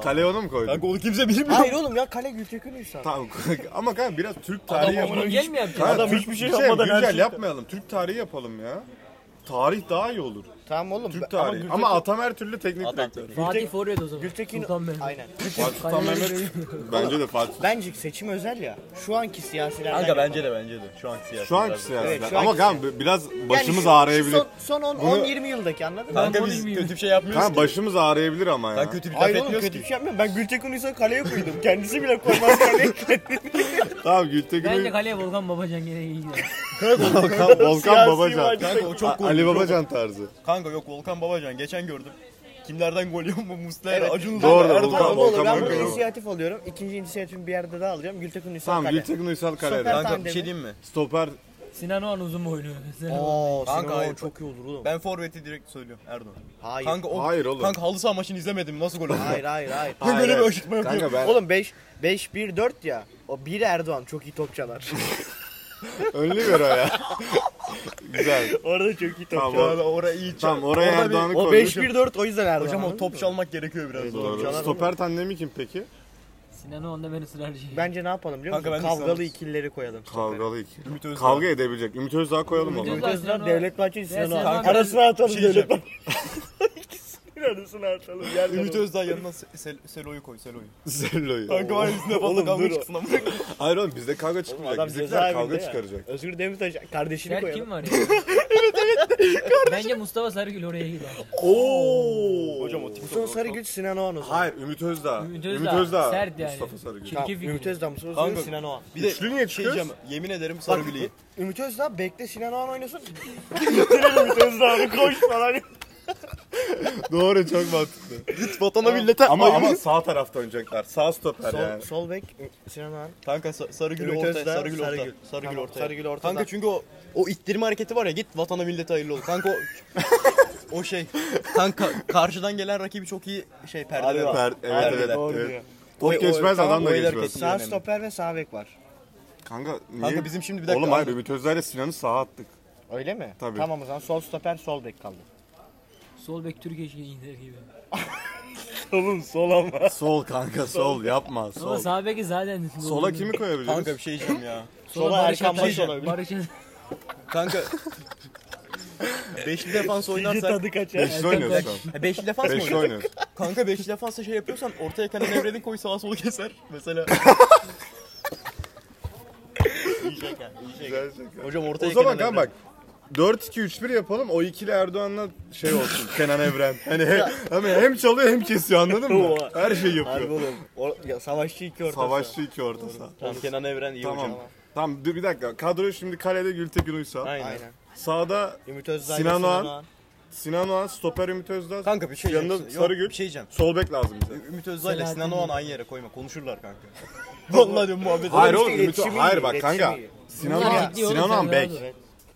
Speaker 1: Kaleye onu mu koydun?
Speaker 4: Kanka onu kimse bilmiyor.
Speaker 2: Hayır oğlum ya kale Gültekin Uysal.
Speaker 1: Tamam ama kanka biraz Türk
Speaker 3: Adam
Speaker 1: tarihi yapalım.
Speaker 3: güncel mi yapacak?
Speaker 1: Kanka,
Speaker 2: Adam
Speaker 1: Türk-
Speaker 2: hiçbir şey yapmadan her
Speaker 1: güncel
Speaker 2: şeyi-
Speaker 1: yapmayalım. Türk tarihi yapalım ya. Tarih daha iyi olur.
Speaker 2: Tamam oğlum.
Speaker 1: Türk
Speaker 2: ben- ama
Speaker 1: tarihi.
Speaker 2: Gültekin-
Speaker 1: Ama Atam her türlü teknik
Speaker 4: Atam
Speaker 1: direktör.
Speaker 4: teknik.
Speaker 3: Fatih Forvet o zaman.
Speaker 2: Gültekin-
Speaker 3: Sultan Mehmet.
Speaker 2: Aynen.
Speaker 1: Fatih Sultan
Speaker 3: Kaleye
Speaker 1: Mehmet bence de Fatih.
Speaker 2: Bence seçim özel ya. Şu anki siyasilerden.
Speaker 4: Kanka bence de bence de. Şu anki siyasi.
Speaker 1: Şu anki
Speaker 4: biraz-
Speaker 1: siyasi.
Speaker 2: Evet, şu
Speaker 1: ama
Speaker 2: anki
Speaker 1: kanka biraz
Speaker 2: Yani
Speaker 1: başımız
Speaker 2: şu-
Speaker 1: ağrıyabilir.
Speaker 2: Son, son 10
Speaker 1: Bunu-
Speaker 2: 20 yıldaki anladın mı?
Speaker 4: Kanka biz
Speaker 3: Napolyon'u
Speaker 4: kötü bir şey yapmıyoruz
Speaker 1: Kanka
Speaker 4: ki.
Speaker 1: başımız ağrıyabilir ama ya.
Speaker 4: Kanka kötü bir laf
Speaker 2: Hayır oğlum
Speaker 4: etmiyoruz
Speaker 2: kötü
Speaker 4: ki.
Speaker 2: bir şey yapmıyorum. Ben Gültekin Uysal'ı kaleye koydum. Kendisi bile koymaz kaleye.
Speaker 1: Tamam Gültekin
Speaker 3: Bence kaleye Volkan Babacan gene iyi gider.
Speaker 1: Volkan, Volkan
Speaker 2: Siyasi
Speaker 1: Babacan.
Speaker 2: maçta-
Speaker 4: Kanka o çok gol.
Speaker 1: Ali Babacan tarzı.
Speaker 4: Kanka yok Volkan Babacan geçen gördüm. Kimlerden gol yiyor mu? Muslera,
Speaker 2: Evet.
Speaker 4: Acun Uzun.
Speaker 1: Doğru,
Speaker 4: Erdoğan.
Speaker 1: Volkan-
Speaker 2: Tamam oğlum ben
Speaker 1: Volkan
Speaker 2: burada
Speaker 1: Babacan.
Speaker 2: inisiyatif alıyorum. İkinci inisiyatifimi bir yerde daha alacağım. Gültekin Uysal
Speaker 1: Tamam
Speaker 2: kale.
Speaker 1: Gültekin Uysal kalede.
Speaker 2: Stoper-
Speaker 4: Kanka bir
Speaker 2: Tandemi.
Speaker 4: şey diyeyim mi?
Speaker 1: Stoper
Speaker 3: Sinan Oğan uzun mu oynuyor? Sinan Oğan.
Speaker 2: Oo,
Speaker 4: Kanka,
Speaker 2: Sinan Oğan
Speaker 4: hayır.
Speaker 2: çok iyi olur oğlum.
Speaker 4: Ben forveti direkt söylüyorum Erdoğan.
Speaker 2: Hayır.
Speaker 4: Kanka o
Speaker 1: Hayır oğlum.
Speaker 4: Kanka halı saha maçını izlemedim. Nasıl gol oldu?
Speaker 2: Hayır hayır hayır.
Speaker 4: Hayır, böyle bir aşırtma yapıyor.
Speaker 1: Kanka ben
Speaker 2: Oğlum 5 5 1 4 ya. O 1 Erdoğan çok iyi top çalar.
Speaker 1: önlü ver o ya. Güzel.
Speaker 2: Orada çok iyi top
Speaker 1: Tamam,
Speaker 2: çalar.
Speaker 4: Yani oraya iyi çal.
Speaker 1: Tamam oraya
Speaker 4: Orada bir-
Speaker 1: Erdoğan'ı
Speaker 2: O
Speaker 1: koyduk.
Speaker 2: 5 1 4 o yüzden Erdoğan.
Speaker 4: Hocam o
Speaker 2: anladın
Speaker 4: top
Speaker 2: mı?
Speaker 4: çalmak gerekiyor biraz.
Speaker 1: Doğru.
Speaker 2: çalar
Speaker 1: Stoper tandemi kim peki?
Speaker 3: Sinan'ı onda ben ısrarcıyım.
Speaker 2: Bence ne yapalım biliyor musun?
Speaker 4: Kanka ben de
Speaker 2: Kavgalı
Speaker 4: Sinan-
Speaker 2: ikilileri koyalım.
Speaker 1: Kavgalı iki.
Speaker 4: Ümit Özdağ.
Speaker 1: Kavga edebilecek. Ümit Özdağ koyalım
Speaker 3: Ümit
Speaker 1: onu.
Speaker 3: Özdağ.
Speaker 2: Arkadaşlar
Speaker 3: Sinan-
Speaker 2: Devlet Bahçeli
Speaker 3: Ya
Speaker 2: Sinan'ı
Speaker 3: Sinan-
Speaker 2: al. Arasına atalım
Speaker 4: Bir şey
Speaker 2: Devlet
Speaker 4: diyeceğim.
Speaker 2: Bahçeli. İkisinin arasına atalım. Yerden
Speaker 4: Ümit
Speaker 2: alalım.
Speaker 4: Özdağ yanına Se- Sel- Selo'yu koy Selo'yu.
Speaker 1: Zello'yu.
Speaker 4: Kanka var ya üstüne
Speaker 2: Oğlum
Speaker 4: fazla
Speaker 2: dur
Speaker 4: kavga
Speaker 2: o.
Speaker 4: çıksın amına.
Speaker 1: Hayır oğlum bizde kavga çıkmayacak.
Speaker 2: Adam cezaevinde
Speaker 1: Bizdekiler kavga
Speaker 2: ya.
Speaker 1: çıkaracak.
Speaker 2: Özgür Demirtaş kardeşini
Speaker 3: Berk
Speaker 2: koyalım.
Speaker 3: kim var ya? Bence Mustafa Sarıgül oraya gider.
Speaker 1: Oo.
Speaker 4: Hocam o TikTok.
Speaker 2: Son Sarıgül Sinan Oğan o zaman.
Speaker 1: Hayır Ümit Özdağ.
Speaker 3: Ümit
Speaker 1: Ümit
Speaker 3: Özdağ.
Speaker 1: Özdağ.
Speaker 3: Sert yani.
Speaker 1: Mustafa Sarıgül.
Speaker 3: Çirkin
Speaker 2: Tamam,
Speaker 3: fikir.
Speaker 2: Ümit Özdağ Mustafa
Speaker 4: Kanka-
Speaker 2: Özgür Sinan Oğan.
Speaker 4: Bir de
Speaker 1: Üçlü niye
Speaker 4: şey
Speaker 1: çıkıyoruz?
Speaker 4: diyeceğim, yemin ederim Sarıgül'ü
Speaker 2: Ümit Özdağ bekle Sinan Oğan oynasın. Getirelim Ümit Özdağ'ı koş falan.
Speaker 1: Doğru çok mantıklı.
Speaker 4: Git vatana millete
Speaker 1: Ama
Speaker 4: ayrı-
Speaker 1: ama sağ tarafta oynayacaklar. Sağ stoper
Speaker 2: Sol,
Speaker 1: yani.
Speaker 2: sol bek Sinan Oğan.
Speaker 4: Kanka Sa- Sarıgül
Speaker 2: Ümit
Speaker 4: ortaya,
Speaker 2: Özdağ,
Speaker 4: Sarıgül ortaya.
Speaker 2: Sarıgül.
Speaker 4: Sarıgül
Speaker 2: Tamam,
Speaker 4: ortaya.
Speaker 2: Sarıgül ortada.
Speaker 4: Kanka çünkü o, o ittirme hareketi var ya git vatana millete hayırlı ol. Kanka o, o şey. Kanka karşıdan gelen rakibi çok iyi şey
Speaker 1: Per-
Speaker 4: perdede. var.
Speaker 1: evet evet. evet.
Speaker 2: doğru diyor.
Speaker 1: Top
Speaker 4: O- o-
Speaker 1: geçmez
Speaker 4: tamam,
Speaker 1: adam
Speaker 4: o
Speaker 1: da
Speaker 4: el
Speaker 1: geçmez.
Speaker 4: hareketi.
Speaker 2: Sağ
Speaker 4: önemli.
Speaker 2: stoper ve sağ bek var.
Speaker 1: Kanka niye?
Speaker 4: Kanka bizim şimdi bir dakika-
Speaker 1: Oğlum hayır Ümit Özdağ ile Sinan'ı sağa attık.
Speaker 2: Öyle mi?
Speaker 1: Tabii.
Speaker 2: Tamam o zaman sol stoper sol bek kaldı.
Speaker 3: Sol bek Türkiye şey gider gibi.
Speaker 2: Solun sol ama.
Speaker 1: Sol kanka sol yapma
Speaker 3: Ama
Speaker 1: sol.
Speaker 3: sağ beki zaten.
Speaker 1: Sola kimi koyabiliriz?
Speaker 4: Kanka bir şey diyeceğim ya.
Speaker 3: Sola
Speaker 2: Sola
Speaker 3: Barış
Speaker 2: Erkan
Speaker 3: Atay-
Speaker 2: Baş olabilir.
Speaker 3: Barış Atay-
Speaker 4: Kanka beşli defans oynarsak
Speaker 2: tadı kaçar.
Speaker 1: Beşli oynuyoruz şu an.
Speaker 4: Ha, Beşli defans mı
Speaker 1: Beşli
Speaker 4: oynuyorsun?
Speaker 1: oynuyoruz.
Speaker 4: Kanka beşli defansa şey yapıyorsan ortaya kendi devredin koy sağa sola keser. Mesela. iyi şaka, iyi şaka.
Speaker 1: Güzel şaka.
Speaker 4: Hocam ortaya
Speaker 1: O zaman kanka
Speaker 4: Kenan
Speaker 1: bak 4-2-3-1 yapalım. O ikili Erdoğan'la şey olsun. Kenan Evren. Hani hem, hani hem çalıyor hem kesiyor anladın mı?
Speaker 2: Oha.
Speaker 1: Her şeyi
Speaker 2: Harbi
Speaker 1: yapıyor.
Speaker 2: oğlum. O, ya, savaşçı iki orta.
Speaker 1: Savaşçı iki orta saha.
Speaker 4: Tamam Kenan Evren iyi
Speaker 1: Tamam.
Speaker 4: hocam.
Speaker 1: Tamam dur bir dakika. Kadroyu şimdi kalede Gültekin Uysal.
Speaker 4: Aynen.
Speaker 2: Aynen.
Speaker 1: Sağda
Speaker 2: Ümit Özdağ.
Speaker 1: Sinan Oğan. Sinan Oğan, stoper Ümit Özdağ.
Speaker 4: Kanka bir şey
Speaker 1: Yanında
Speaker 4: diyeceğim. Yok,
Speaker 1: Sarıgül.
Speaker 4: Bir şey diyeceğim.
Speaker 1: Sol bek lazım bize.
Speaker 4: Ümit Özdağ ile
Speaker 3: Selahattin
Speaker 4: Sinan
Speaker 3: mi?
Speaker 4: Oğan aynı yere koyma. Konuşurlar kanka. Vallahi diyorum muhabbet.
Speaker 1: Hayır
Speaker 2: işte
Speaker 1: oğlum Ümit
Speaker 2: iletişim iyi,
Speaker 1: Hayır bak
Speaker 2: iletişim
Speaker 1: kanka.
Speaker 2: iyi.
Speaker 1: Sinan
Speaker 3: Bunlar
Speaker 1: Oğan,
Speaker 3: ciddi oğlum,
Speaker 1: Sinan Oğan
Speaker 3: sen
Speaker 1: bek.
Speaker 3: rahat ol.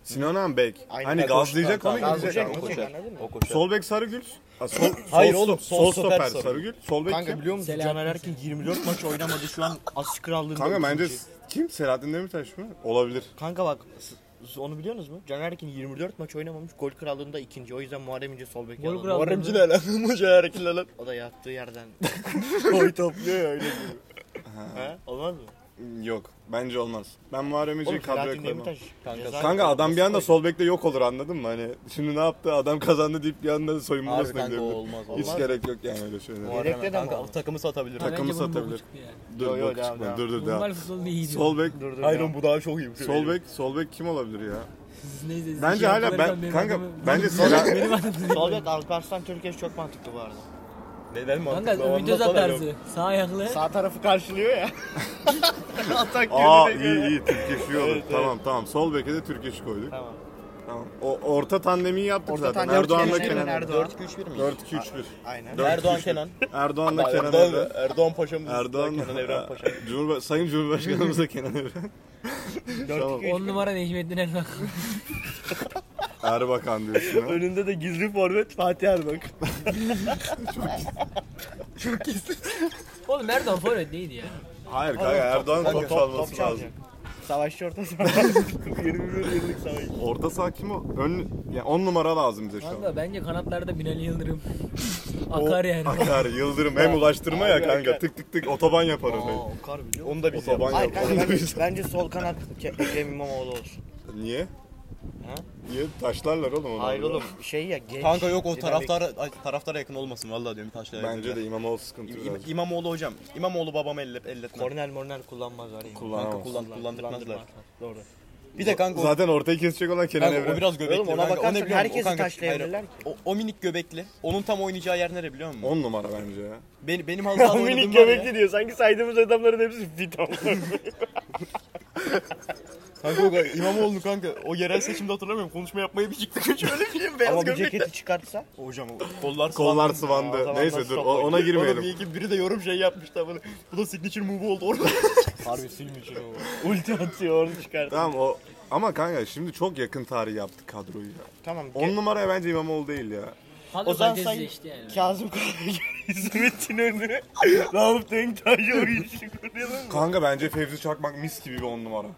Speaker 1: Sinan Oğan bek.
Speaker 2: Aynen.
Speaker 1: Hani
Speaker 2: Bak,
Speaker 1: gazlayacak onu gidecek.
Speaker 2: Koşacak,
Speaker 1: ama.
Speaker 2: koşacak. Anladın mı?
Speaker 4: O koşar.
Speaker 1: Sol bek Sarıgül. Ha, sol,
Speaker 4: Hayır
Speaker 1: sol-
Speaker 4: oğlum, sol
Speaker 1: Sol
Speaker 4: stoper
Speaker 1: stoper
Speaker 4: Sarıgül.
Speaker 1: Sarıgül. Sol bek
Speaker 2: Kanka
Speaker 1: kim?
Speaker 2: biliyor musun
Speaker 3: Selahattin
Speaker 2: Caner Erkin 24 maç oynamadı şu an asist krallığında.
Speaker 1: Kanka bence
Speaker 2: ikinci.
Speaker 1: kim? Selahattin Demirtaş mı? Olabilir.
Speaker 2: Kanka bak s- onu biliyor musunuz mu? Caner Erkin 24 maç oynamamış gol krallığında ikinci. O yüzden Muharrem İnce sol bek
Speaker 3: Gol
Speaker 2: alalım.
Speaker 3: kralı.
Speaker 4: Muharremci ne lan? Hoca hareketler lan.
Speaker 2: O da yattığı yerden.
Speaker 4: Oy topluyor ya öyle.
Speaker 2: He? Olmaz mı?
Speaker 1: Yok. Bence olmaz. Ben Muharrem İnce'yi
Speaker 2: Oğlum
Speaker 1: şey kadroya
Speaker 2: Selahattin
Speaker 1: koymam.
Speaker 2: Demirtaş.
Speaker 4: Kanka,
Speaker 2: Ceza-
Speaker 1: Kanka adam bir anda sol bekte yok olur anladın mı? Hani şimdi ne yaptı? Adam kazandı deyip bir anda soyunma
Speaker 4: Abi
Speaker 1: odasına
Speaker 4: kanka o
Speaker 1: gidebilir.
Speaker 4: olmaz.
Speaker 1: Hiç
Speaker 4: olmaz.
Speaker 1: gerek yok yani öyle şeylere.
Speaker 2: Gerek de
Speaker 4: Kanka
Speaker 2: ama.
Speaker 4: takımı satabilir.
Speaker 3: Ha, bence
Speaker 1: takımı
Speaker 3: bunun boku
Speaker 1: satabilir.
Speaker 3: çıktı yani.
Speaker 1: Dur
Speaker 2: Yo, yo,
Speaker 1: bak
Speaker 2: devam,
Speaker 1: çıkma.
Speaker 2: devam.
Speaker 1: Dur dur
Speaker 3: Normal
Speaker 1: devam.
Speaker 3: futbolda iyi diyor.
Speaker 1: Sol bek
Speaker 2: Dur dur.
Speaker 4: Hayır
Speaker 2: ya.
Speaker 4: oğlum bu daha çok iyi.
Speaker 1: Sol bek, sol bek kim olabilir ya?
Speaker 3: Siz neyse.
Speaker 1: Bence
Speaker 3: şey
Speaker 1: hala
Speaker 3: yaptılar,
Speaker 1: ben
Speaker 3: benim
Speaker 1: kanka
Speaker 3: adamı-
Speaker 1: bence Sela
Speaker 3: Benim adamım.
Speaker 2: Sol bek Alparslan Türkeş çok mantıklı bu arada.
Speaker 4: Neden
Speaker 3: Kanka
Speaker 4: mantıklı?
Speaker 3: Ümit Özat tarzı. Sağ ayaklı.
Speaker 2: Sağ tarafı karşılıyor ya. Atak
Speaker 1: Aa
Speaker 2: yönüne
Speaker 1: iyi
Speaker 2: göre.
Speaker 1: iyi Türkeş iyi olur. Tamam tamam. Sol beke de Türkeş koyduk.
Speaker 2: Tamam.
Speaker 1: Tamam. O orta tandemi yaptık
Speaker 2: Orta
Speaker 1: zaten.
Speaker 2: tandem
Speaker 1: Erdoğan'la
Speaker 2: Türkeş,
Speaker 1: Kenan. Evren.
Speaker 2: Erdoğan.
Speaker 4: 4-2-3-1 mi?
Speaker 1: 4 2 3 1.
Speaker 2: Aynen.
Speaker 1: Dört,
Speaker 4: Erdoğan
Speaker 1: üç, bir.
Speaker 4: Kenan.
Speaker 1: Erdoğan'la Kenan
Speaker 4: Erdoğan,
Speaker 1: Evren.
Speaker 4: Erdoğan Paşa'mız.
Speaker 1: Erdoğan
Speaker 4: Kenan Evren Paşa.
Speaker 1: Cumhurba- Sayın Cumhurbaşkanımıza Kenan Evren. tamam.
Speaker 3: 10 numara Necmettin Erdoğan.
Speaker 1: Erbakan diyorsun ha.
Speaker 2: Önünde de gizli forvet Fatih Erbak.
Speaker 3: Oğlum Erdoğan forvet değildi ya.
Speaker 1: Hayır kanka Erdoğan top çalması lazım.
Speaker 2: çalacak. Savaşçı orta saha. 21 yıllık savaşçı.
Speaker 1: Orta saha kim o? Ön yani 10 numara lazım bize şu an.
Speaker 3: Kanka bence kanatlarda Binali Yıldırım. Akar yani.
Speaker 1: Akar, Yıldırım hem ulaştırma ya kanka. Tık tık tık otoban yapar orayı.
Speaker 2: Okar biliyor
Speaker 4: Onu da biz
Speaker 1: Otoban
Speaker 2: Hayır
Speaker 1: yapar.
Speaker 2: kanka bence, bence sol kanat Ke- Ekrem İmamoğlu olsun.
Speaker 1: Niye?
Speaker 2: Ha?
Speaker 1: Niye taşlarlar oğlum onu?
Speaker 2: Hayır oğlum şey ya genç.
Speaker 4: Kanka yok o
Speaker 2: dinamik.
Speaker 4: taraftara, ay, taraftara yakın olmasın vallahi diyorum taşlara yakın
Speaker 1: Bence de
Speaker 4: değil.
Speaker 1: İmamoğlu sıkıntı
Speaker 4: İm-
Speaker 1: biraz.
Speaker 4: İm- İmamoğlu hocam. İmamoğlu babam elle elletme.
Speaker 2: Kornel mornel kullanmazlar. yani.
Speaker 4: Kanka
Speaker 1: Kullanamaz.
Speaker 4: kullan, kullandırmazlar.
Speaker 2: Doğru.
Speaker 4: Bir de kanka o,
Speaker 1: Zaten ortayı kesecek olan Kenan
Speaker 4: kanka, o
Speaker 1: Evren.
Speaker 4: biraz göbekli.
Speaker 2: Oğlum ona
Speaker 4: kanka, o ne
Speaker 2: bakarsan
Speaker 4: biliyor musun? O
Speaker 2: herkesi
Speaker 4: kanka-
Speaker 2: taşlayabilirler
Speaker 4: hayır,
Speaker 2: ki.
Speaker 4: O, o minik göbekli. Onun tam oynayacağı yer nere biliyor musun?
Speaker 1: 10 numara bence ya.
Speaker 4: Benim, benim halı sahada oynadığım var ya.
Speaker 2: diyor. Sanki saydığımız adamların hepsi fit
Speaker 4: Kanka o kadar- İmamoğlu kanka. O yerel seçimde hatırlamıyorum. Konuşma yapmayı bir çıktı. Şöyle bileyim beyaz
Speaker 2: Ama bu
Speaker 4: göbekli.
Speaker 2: ceketi çıkartsa.
Speaker 4: Hocam o kollar
Speaker 1: Kollar
Speaker 4: sıvandı.
Speaker 2: Aa, o
Speaker 1: sıvandı.
Speaker 2: zaman
Speaker 1: Neyse
Speaker 2: nasıl
Speaker 1: dur o-
Speaker 2: toplayın?
Speaker 1: ona
Speaker 4: Oğlum iyi
Speaker 1: girmeyelim.
Speaker 4: ki biri de yorum şey yapmış da bana. Bu da signature move oldu orada.
Speaker 2: Harbi silmeyecek o. Ulti atıyor onu çıkar.
Speaker 1: Tamam o ama kanka şimdi çok yakın tarih yaptık kadroyu ya.
Speaker 2: Tamam. ge-
Speaker 1: 10 numara bence İmamoğlu değil ya.
Speaker 3: Kadro
Speaker 2: Ozan
Speaker 3: kalitesi
Speaker 2: Sayın
Speaker 3: işte yani.
Speaker 2: Kazım Karagöz, İsmet'in önü, Rauf Denktaş'ı oyuncu kuruyorlar mı?
Speaker 1: Kanka bence Fevzi Çakmak mis gibi bir 10 numara.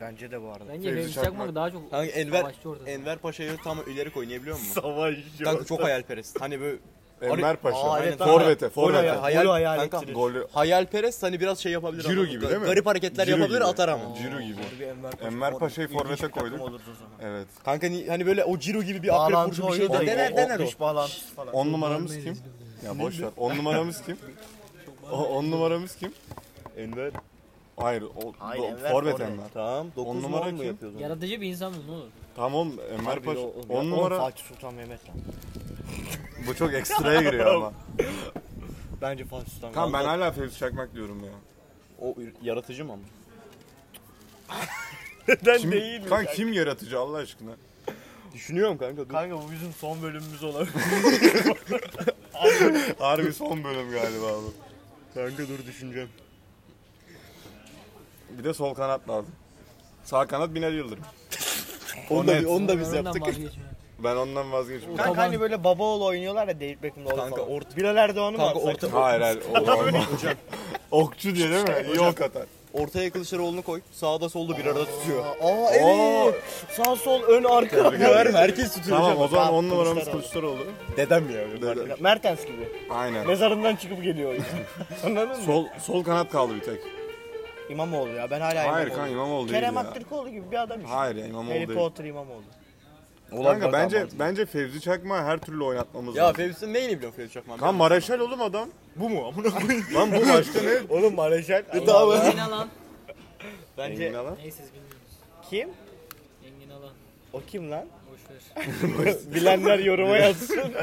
Speaker 2: Bence de bu arada.
Speaker 3: Bence
Speaker 1: Fevzi
Speaker 3: Fevzi
Speaker 1: Çakmak.
Speaker 3: Çakmak daha çok
Speaker 4: Kanka Enver,
Speaker 3: savaşçı orada.
Speaker 4: Enver Paşa'yı tam ileri koy, niye biliyor musun?
Speaker 2: Savaşçı.
Speaker 4: Kanka çok hayalperest. Hani böyle
Speaker 1: Enver Paşa.
Speaker 4: Aa,
Speaker 1: Aynen.
Speaker 4: evet,
Speaker 1: Forvet'e.
Speaker 2: Gol hayal,
Speaker 1: Forvet'e.
Speaker 4: hayal-
Speaker 2: golü hayal
Speaker 4: Kanka,
Speaker 2: ettirir.
Speaker 1: Golü.
Speaker 4: Hayalperest hani biraz şey yapabilir.
Speaker 1: Ciro
Speaker 4: ama,
Speaker 1: gibi
Speaker 4: ga-
Speaker 1: değil mi?
Speaker 4: Garip hareketler
Speaker 1: Ciro
Speaker 4: yapabilir
Speaker 1: gibi.
Speaker 4: atar ama.
Speaker 1: Ciro gibi.
Speaker 2: Harbi Enver Paşa
Speaker 1: Enver
Speaker 2: forvet.
Speaker 1: Paşa'yı
Speaker 2: İlginç
Speaker 1: forvete
Speaker 2: bir takım
Speaker 1: koyduk.
Speaker 2: oluruz o zaman.
Speaker 1: Evet.
Speaker 4: Kanka ni- hani böyle o Ciro gibi bir akrep
Speaker 2: Bağlantı
Speaker 4: burcu bir şey de
Speaker 2: oyunu,
Speaker 4: dener
Speaker 2: o-
Speaker 4: dener o.
Speaker 2: dış bağlantısı falan.
Speaker 1: 10 numaramız kim? Ya boş ver. 10 numaramız kim? 10 numaramız kim? Enver. Hayır, o,
Speaker 2: Hayır,
Speaker 1: bu-
Speaker 2: Enver,
Speaker 1: forvet
Speaker 2: forvet.
Speaker 1: Enver.
Speaker 4: Tamam. 9
Speaker 1: numara
Speaker 4: numara mu
Speaker 1: kim?
Speaker 4: yapıyordun?
Speaker 3: Yaratıcı bir insan mı ne olur?
Speaker 1: Tamam oğlum Enver
Speaker 4: Harbi
Speaker 1: Paşa.
Speaker 4: o- o-
Speaker 1: 10 numara.
Speaker 2: Fatih Sultan Mehmet lan.
Speaker 1: Bu çok ekstraya giriyor ama.
Speaker 4: Bence Fatih Sultan.
Speaker 1: Tamam ben
Speaker 4: Vallahi-
Speaker 1: hala Fevzi Çakmak diyorum ya.
Speaker 4: O yaratıcı mı ama?
Speaker 1: Kim, kanka kim yaratıcı Allah aşkına?
Speaker 4: Düşünüyorum kanka. Dur.
Speaker 2: Kanka bu bizim son bölümümüz olabilir.
Speaker 1: Harbi son bölüm galiba bu.
Speaker 4: Kanka dur düşüneceğim.
Speaker 1: Bir de sol kanat lazım. Sağ kanat Binali Yıldırım.
Speaker 4: Onu da,
Speaker 1: net.
Speaker 4: onu da biz
Speaker 3: Ondan
Speaker 4: yaptık.
Speaker 3: vazgeçmiyorum.
Speaker 1: Ben ondan vazgeçmiyorum.
Speaker 2: Kanka
Speaker 3: Tamam.
Speaker 2: hani böyle baba oğlu oynuyorlar ya David Beckham'la oğlu
Speaker 4: Kanka
Speaker 2: falan.
Speaker 4: orta-
Speaker 2: Bilal Erdoğan'ı mı
Speaker 4: Kanka
Speaker 2: atsak?
Speaker 4: orta-
Speaker 1: Hayır hayır. O olmaz. Okçu diye değil mi? İyi ok atar.
Speaker 4: Ortaya Kılıçdaroğlu'nu koy. Sağda solda bir arada tutuyor.
Speaker 2: Aa
Speaker 1: Oo.
Speaker 2: evet. Sağ sol ön arka.
Speaker 4: Verme herkes tutuyor.
Speaker 1: Tamam o zaman
Speaker 2: Tamam,
Speaker 1: 10 numaramız
Speaker 2: Kılıçdaroğlu.
Speaker 1: Kılıçdaroğlu.
Speaker 4: Dedem ya. benim
Speaker 1: Dede.
Speaker 4: arkadaşım.
Speaker 2: Mertens gibi.
Speaker 1: Aynen.
Speaker 2: Mezarından çıkıp geliyor. o yüzden. Anladın mı?
Speaker 1: Sol sol kanat kaldı bir tek.
Speaker 2: İmamoğlu ya ben hala
Speaker 1: Hayır
Speaker 2: İmamoğlu.
Speaker 1: kanka İmamoğlu değil
Speaker 2: Kerem
Speaker 1: ya.
Speaker 2: Aktürkoğlu gibi bir adam işte.
Speaker 1: Hayır ya İmamoğlu
Speaker 2: Harry
Speaker 1: değil.
Speaker 2: Potter İmamoğlu.
Speaker 1: Kanka
Speaker 4: Ulan
Speaker 1: bence
Speaker 4: bakalım.
Speaker 1: bence Fevzi Çakmak'ı her türlü oynatmamız
Speaker 4: Ya
Speaker 1: lazım.
Speaker 4: Fevzi'nin neyini biliyorsun Fevzi Çakman?
Speaker 1: Kan Maraşal oğlum adam.
Speaker 4: bu mu? Amına koyayım.
Speaker 1: Lan bu başka ne?
Speaker 2: Oğlum Maraşal.
Speaker 4: Tamam.
Speaker 3: Engin Alan.
Speaker 2: Bence
Speaker 1: Engin Alan.
Speaker 3: Neyse siz bilmiyorsunuz.
Speaker 2: kim?
Speaker 3: Engin Alan.
Speaker 2: O kim lan?
Speaker 3: Boş ver.
Speaker 2: Bilenler yoruma yazsın.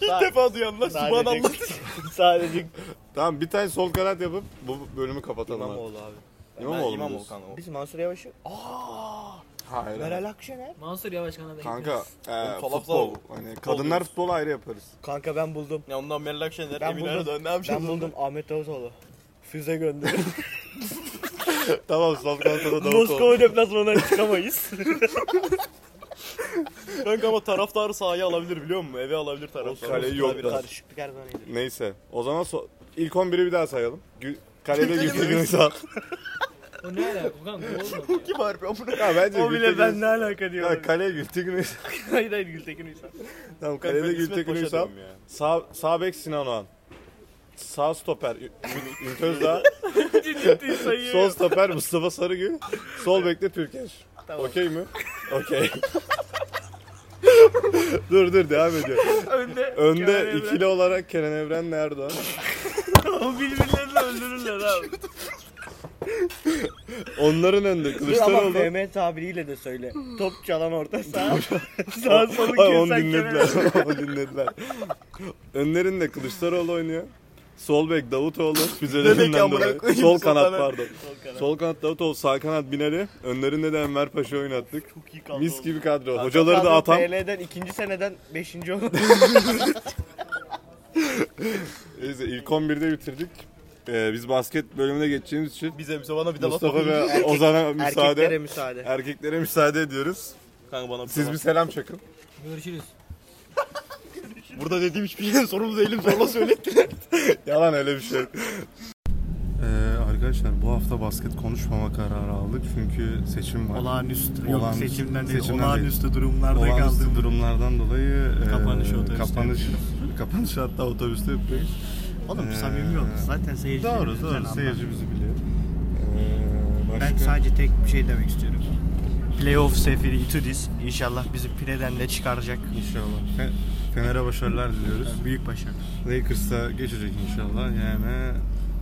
Speaker 4: İlk defa duyan lan subhanallah.
Speaker 2: Sadece, sadece
Speaker 1: Tamam bir tane sol kanat yapıp bu bölümü kapatalım. abi.
Speaker 4: İmamoğlu abi.
Speaker 1: İmamoğlu mu
Speaker 4: Ben İmamoğlu
Speaker 1: diyorsun?
Speaker 4: kanka.
Speaker 2: biz Mansur Yavaş'ı
Speaker 1: Hayır.
Speaker 2: Meral Akşener.
Speaker 3: Mansur Yavaş kanada
Speaker 1: Kanka e,
Speaker 4: Oğlum,
Speaker 1: futbol.
Speaker 4: salak
Speaker 1: Hani kadınlar futbolu ayrı yaparız.
Speaker 2: Kanka ben buldum.
Speaker 4: Ya ondan Meral Akşener,
Speaker 2: Ben
Speaker 4: Emin
Speaker 2: buldum.
Speaker 4: Erdoğan ne
Speaker 2: Ben
Speaker 1: şey
Speaker 4: yapacağız?
Speaker 2: buldum Ahmet Davutoğlu. Füze gönderdim.
Speaker 1: tamam sol kanatta da Davutoğlu.
Speaker 2: Moskova deplasmanından çıkamayız.
Speaker 4: Kanka ama taraftarı sahaya alabilir biliyor musun? Eve alabilir taraftarı.
Speaker 1: Kaleyi yok da.
Speaker 2: Karışıklık her zaman iyidir.
Speaker 1: Neyse. O zaman so- ilk 11'i bir daha sayalım. Gü- Kalede Gülsü Günsal.
Speaker 3: O ne alaka? Ulan bu olmadı ya.
Speaker 4: Kim harbi amına
Speaker 1: Ya bence
Speaker 2: O
Speaker 1: Gültekin
Speaker 2: bile ben ne alaka
Speaker 1: Ya
Speaker 2: diyor.
Speaker 1: kaleye Gültekin Ünsal.
Speaker 2: Hayır hayır Gültekin Uysal.
Speaker 1: Tamam kalede
Speaker 4: ben İsmet
Speaker 1: Gültekin
Speaker 4: Paşa
Speaker 1: Ünsal.
Speaker 4: diyorum ya.
Speaker 1: Sağ, sağ bek Sinan Oğan. Sağ stoper Ü- Ümit- Ümit Özdağ.
Speaker 2: Ciddi sayıyor.
Speaker 1: Sol stoper Mustafa Sarıgül. Sol bekle Türkeş. Okey mi? Okey. dur dur devam ediyor.
Speaker 2: Önde.
Speaker 1: Önde ikili olarak Kenan Evren'le Erdoğan.
Speaker 2: O birbirlerini öldürürler abi.
Speaker 1: Onların önünde
Speaker 2: Dur ama
Speaker 1: Kılıçdaroğlu.
Speaker 2: FM tabiriyle de söyle. Top çalan orta saha. Sağ solu
Speaker 1: Ay, onu
Speaker 2: kimsen
Speaker 1: dinlediler. onu dinlediler. Önlerinde Kılıçdaroğlu oynuyor. Sol bek Davutoğlu
Speaker 4: Demek ki
Speaker 1: füzelerinden
Speaker 4: amına
Speaker 1: dolayı.
Speaker 4: koyayım,
Speaker 1: Sol
Speaker 4: sol
Speaker 1: kanat
Speaker 4: kanat.
Speaker 1: pardon. Sol kanat Davutoğlu, sağ kanat Binali. Önlerinde de Enver Paşa oynattık. Mis gibi kadro. Hocaları da atam.
Speaker 2: TL'den ikinci seneden beşinci oldu.
Speaker 1: Neyse ilk 11'de bitirdik. Ee, biz basket bölümüne geçeceğimiz için
Speaker 4: Bize bize bana bir de
Speaker 1: Mustafa
Speaker 4: bakın.
Speaker 1: ve Ozan'a müsaade.
Speaker 2: Erkeklere müsaade.
Speaker 1: Erkeklere müsaade ediyoruz.
Speaker 4: Kanka bana bir
Speaker 1: Siz
Speaker 4: de
Speaker 1: bir
Speaker 4: bak.
Speaker 1: selam çakın.
Speaker 3: Görüşürüz.
Speaker 4: Burada dediğim hiçbir şeyden sorumlu değilim zorla söylettim.
Speaker 1: Yalan öyle bir şey. Ee, arkadaşlar bu hafta basket konuşmama kararı aldık çünkü seçim var.
Speaker 2: Olağanüstü.
Speaker 1: Yok, Olağanüstü. seçimden değil, Seçimden olağanüstü
Speaker 2: durumlarda
Speaker 1: Olağanüstü durumlardan dolayı e,
Speaker 2: Kapanışı otobüste
Speaker 1: kapanış, kapanış hatta otobüste yapıyoruz.
Speaker 2: Oğlum
Speaker 1: bu samimi oldu.
Speaker 2: Zaten Ee, seyirci.
Speaker 1: Doğru doğru seyirci bizi biliyor. Ee, başka...
Speaker 2: tek bir şey demek istiyorum. Playoff seferi İtudis inşallah bizi pireden de çıkaracak.
Speaker 1: İnşallah. Fe- Fener'e başarılar diliyoruz.
Speaker 2: Büyük başarı.
Speaker 1: Lakers'a geçecek inşallah yani.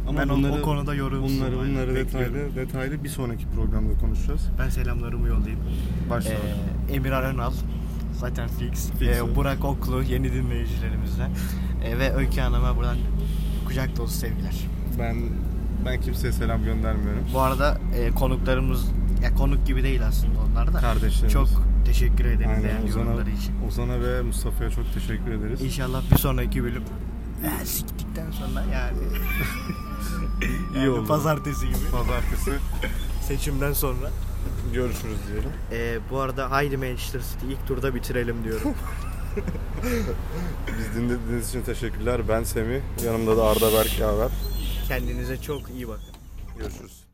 Speaker 1: Ama
Speaker 2: Ben o-
Speaker 1: bunları,
Speaker 2: o konuda yorum
Speaker 1: bunları,
Speaker 2: sunmayı
Speaker 1: bunları
Speaker 2: bekliyorum.
Speaker 1: detaylı, detaylı bir sonraki programda konuşacağız.
Speaker 2: Ben selamlarımı yollayayım.
Speaker 1: Başla.
Speaker 2: Ee, Emir Aranal zaten fix.
Speaker 1: Fix
Speaker 2: Ee,
Speaker 1: o.
Speaker 2: Burak Oklu yeni dinleyicilerimizden. Ee, ve Öykü Hanım'a buradan kucak dolusu sevgiler.
Speaker 1: Ben ben kimseye selam göndermiyorum.
Speaker 2: Bu arada e, konuklarımız ya konuk gibi değil aslında onlar da.
Speaker 1: Kardeşlerimiz.
Speaker 2: Çok teşekkür ederiz
Speaker 1: Aynen
Speaker 2: değerli
Speaker 1: Ozan'a,
Speaker 2: yorumları için.
Speaker 1: Ozan'a ve Mustafa'ya çok teşekkür ederiz.
Speaker 2: İnşallah bir sonraki bölüm e, siktikten sonra yani, yani
Speaker 1: İyi oldu.
Speaker 2: pazartesi gibi
Speaker 1: Pazartesi
Speaker 2: seçimden sonra.
Speaker 1: görüşürüz diyelim.
Speaker 2: E, bu arada haydi Manchester City ilk turda bitirelim diyorum.
Speaker 1: Biz dinlediğiniz için teşekkürler. Ben Semih. Yanımda da Arda Berk Yaver.
Speaker 2: Kendinize çok iyi bakın.
Speaker 1: Görüşürüz.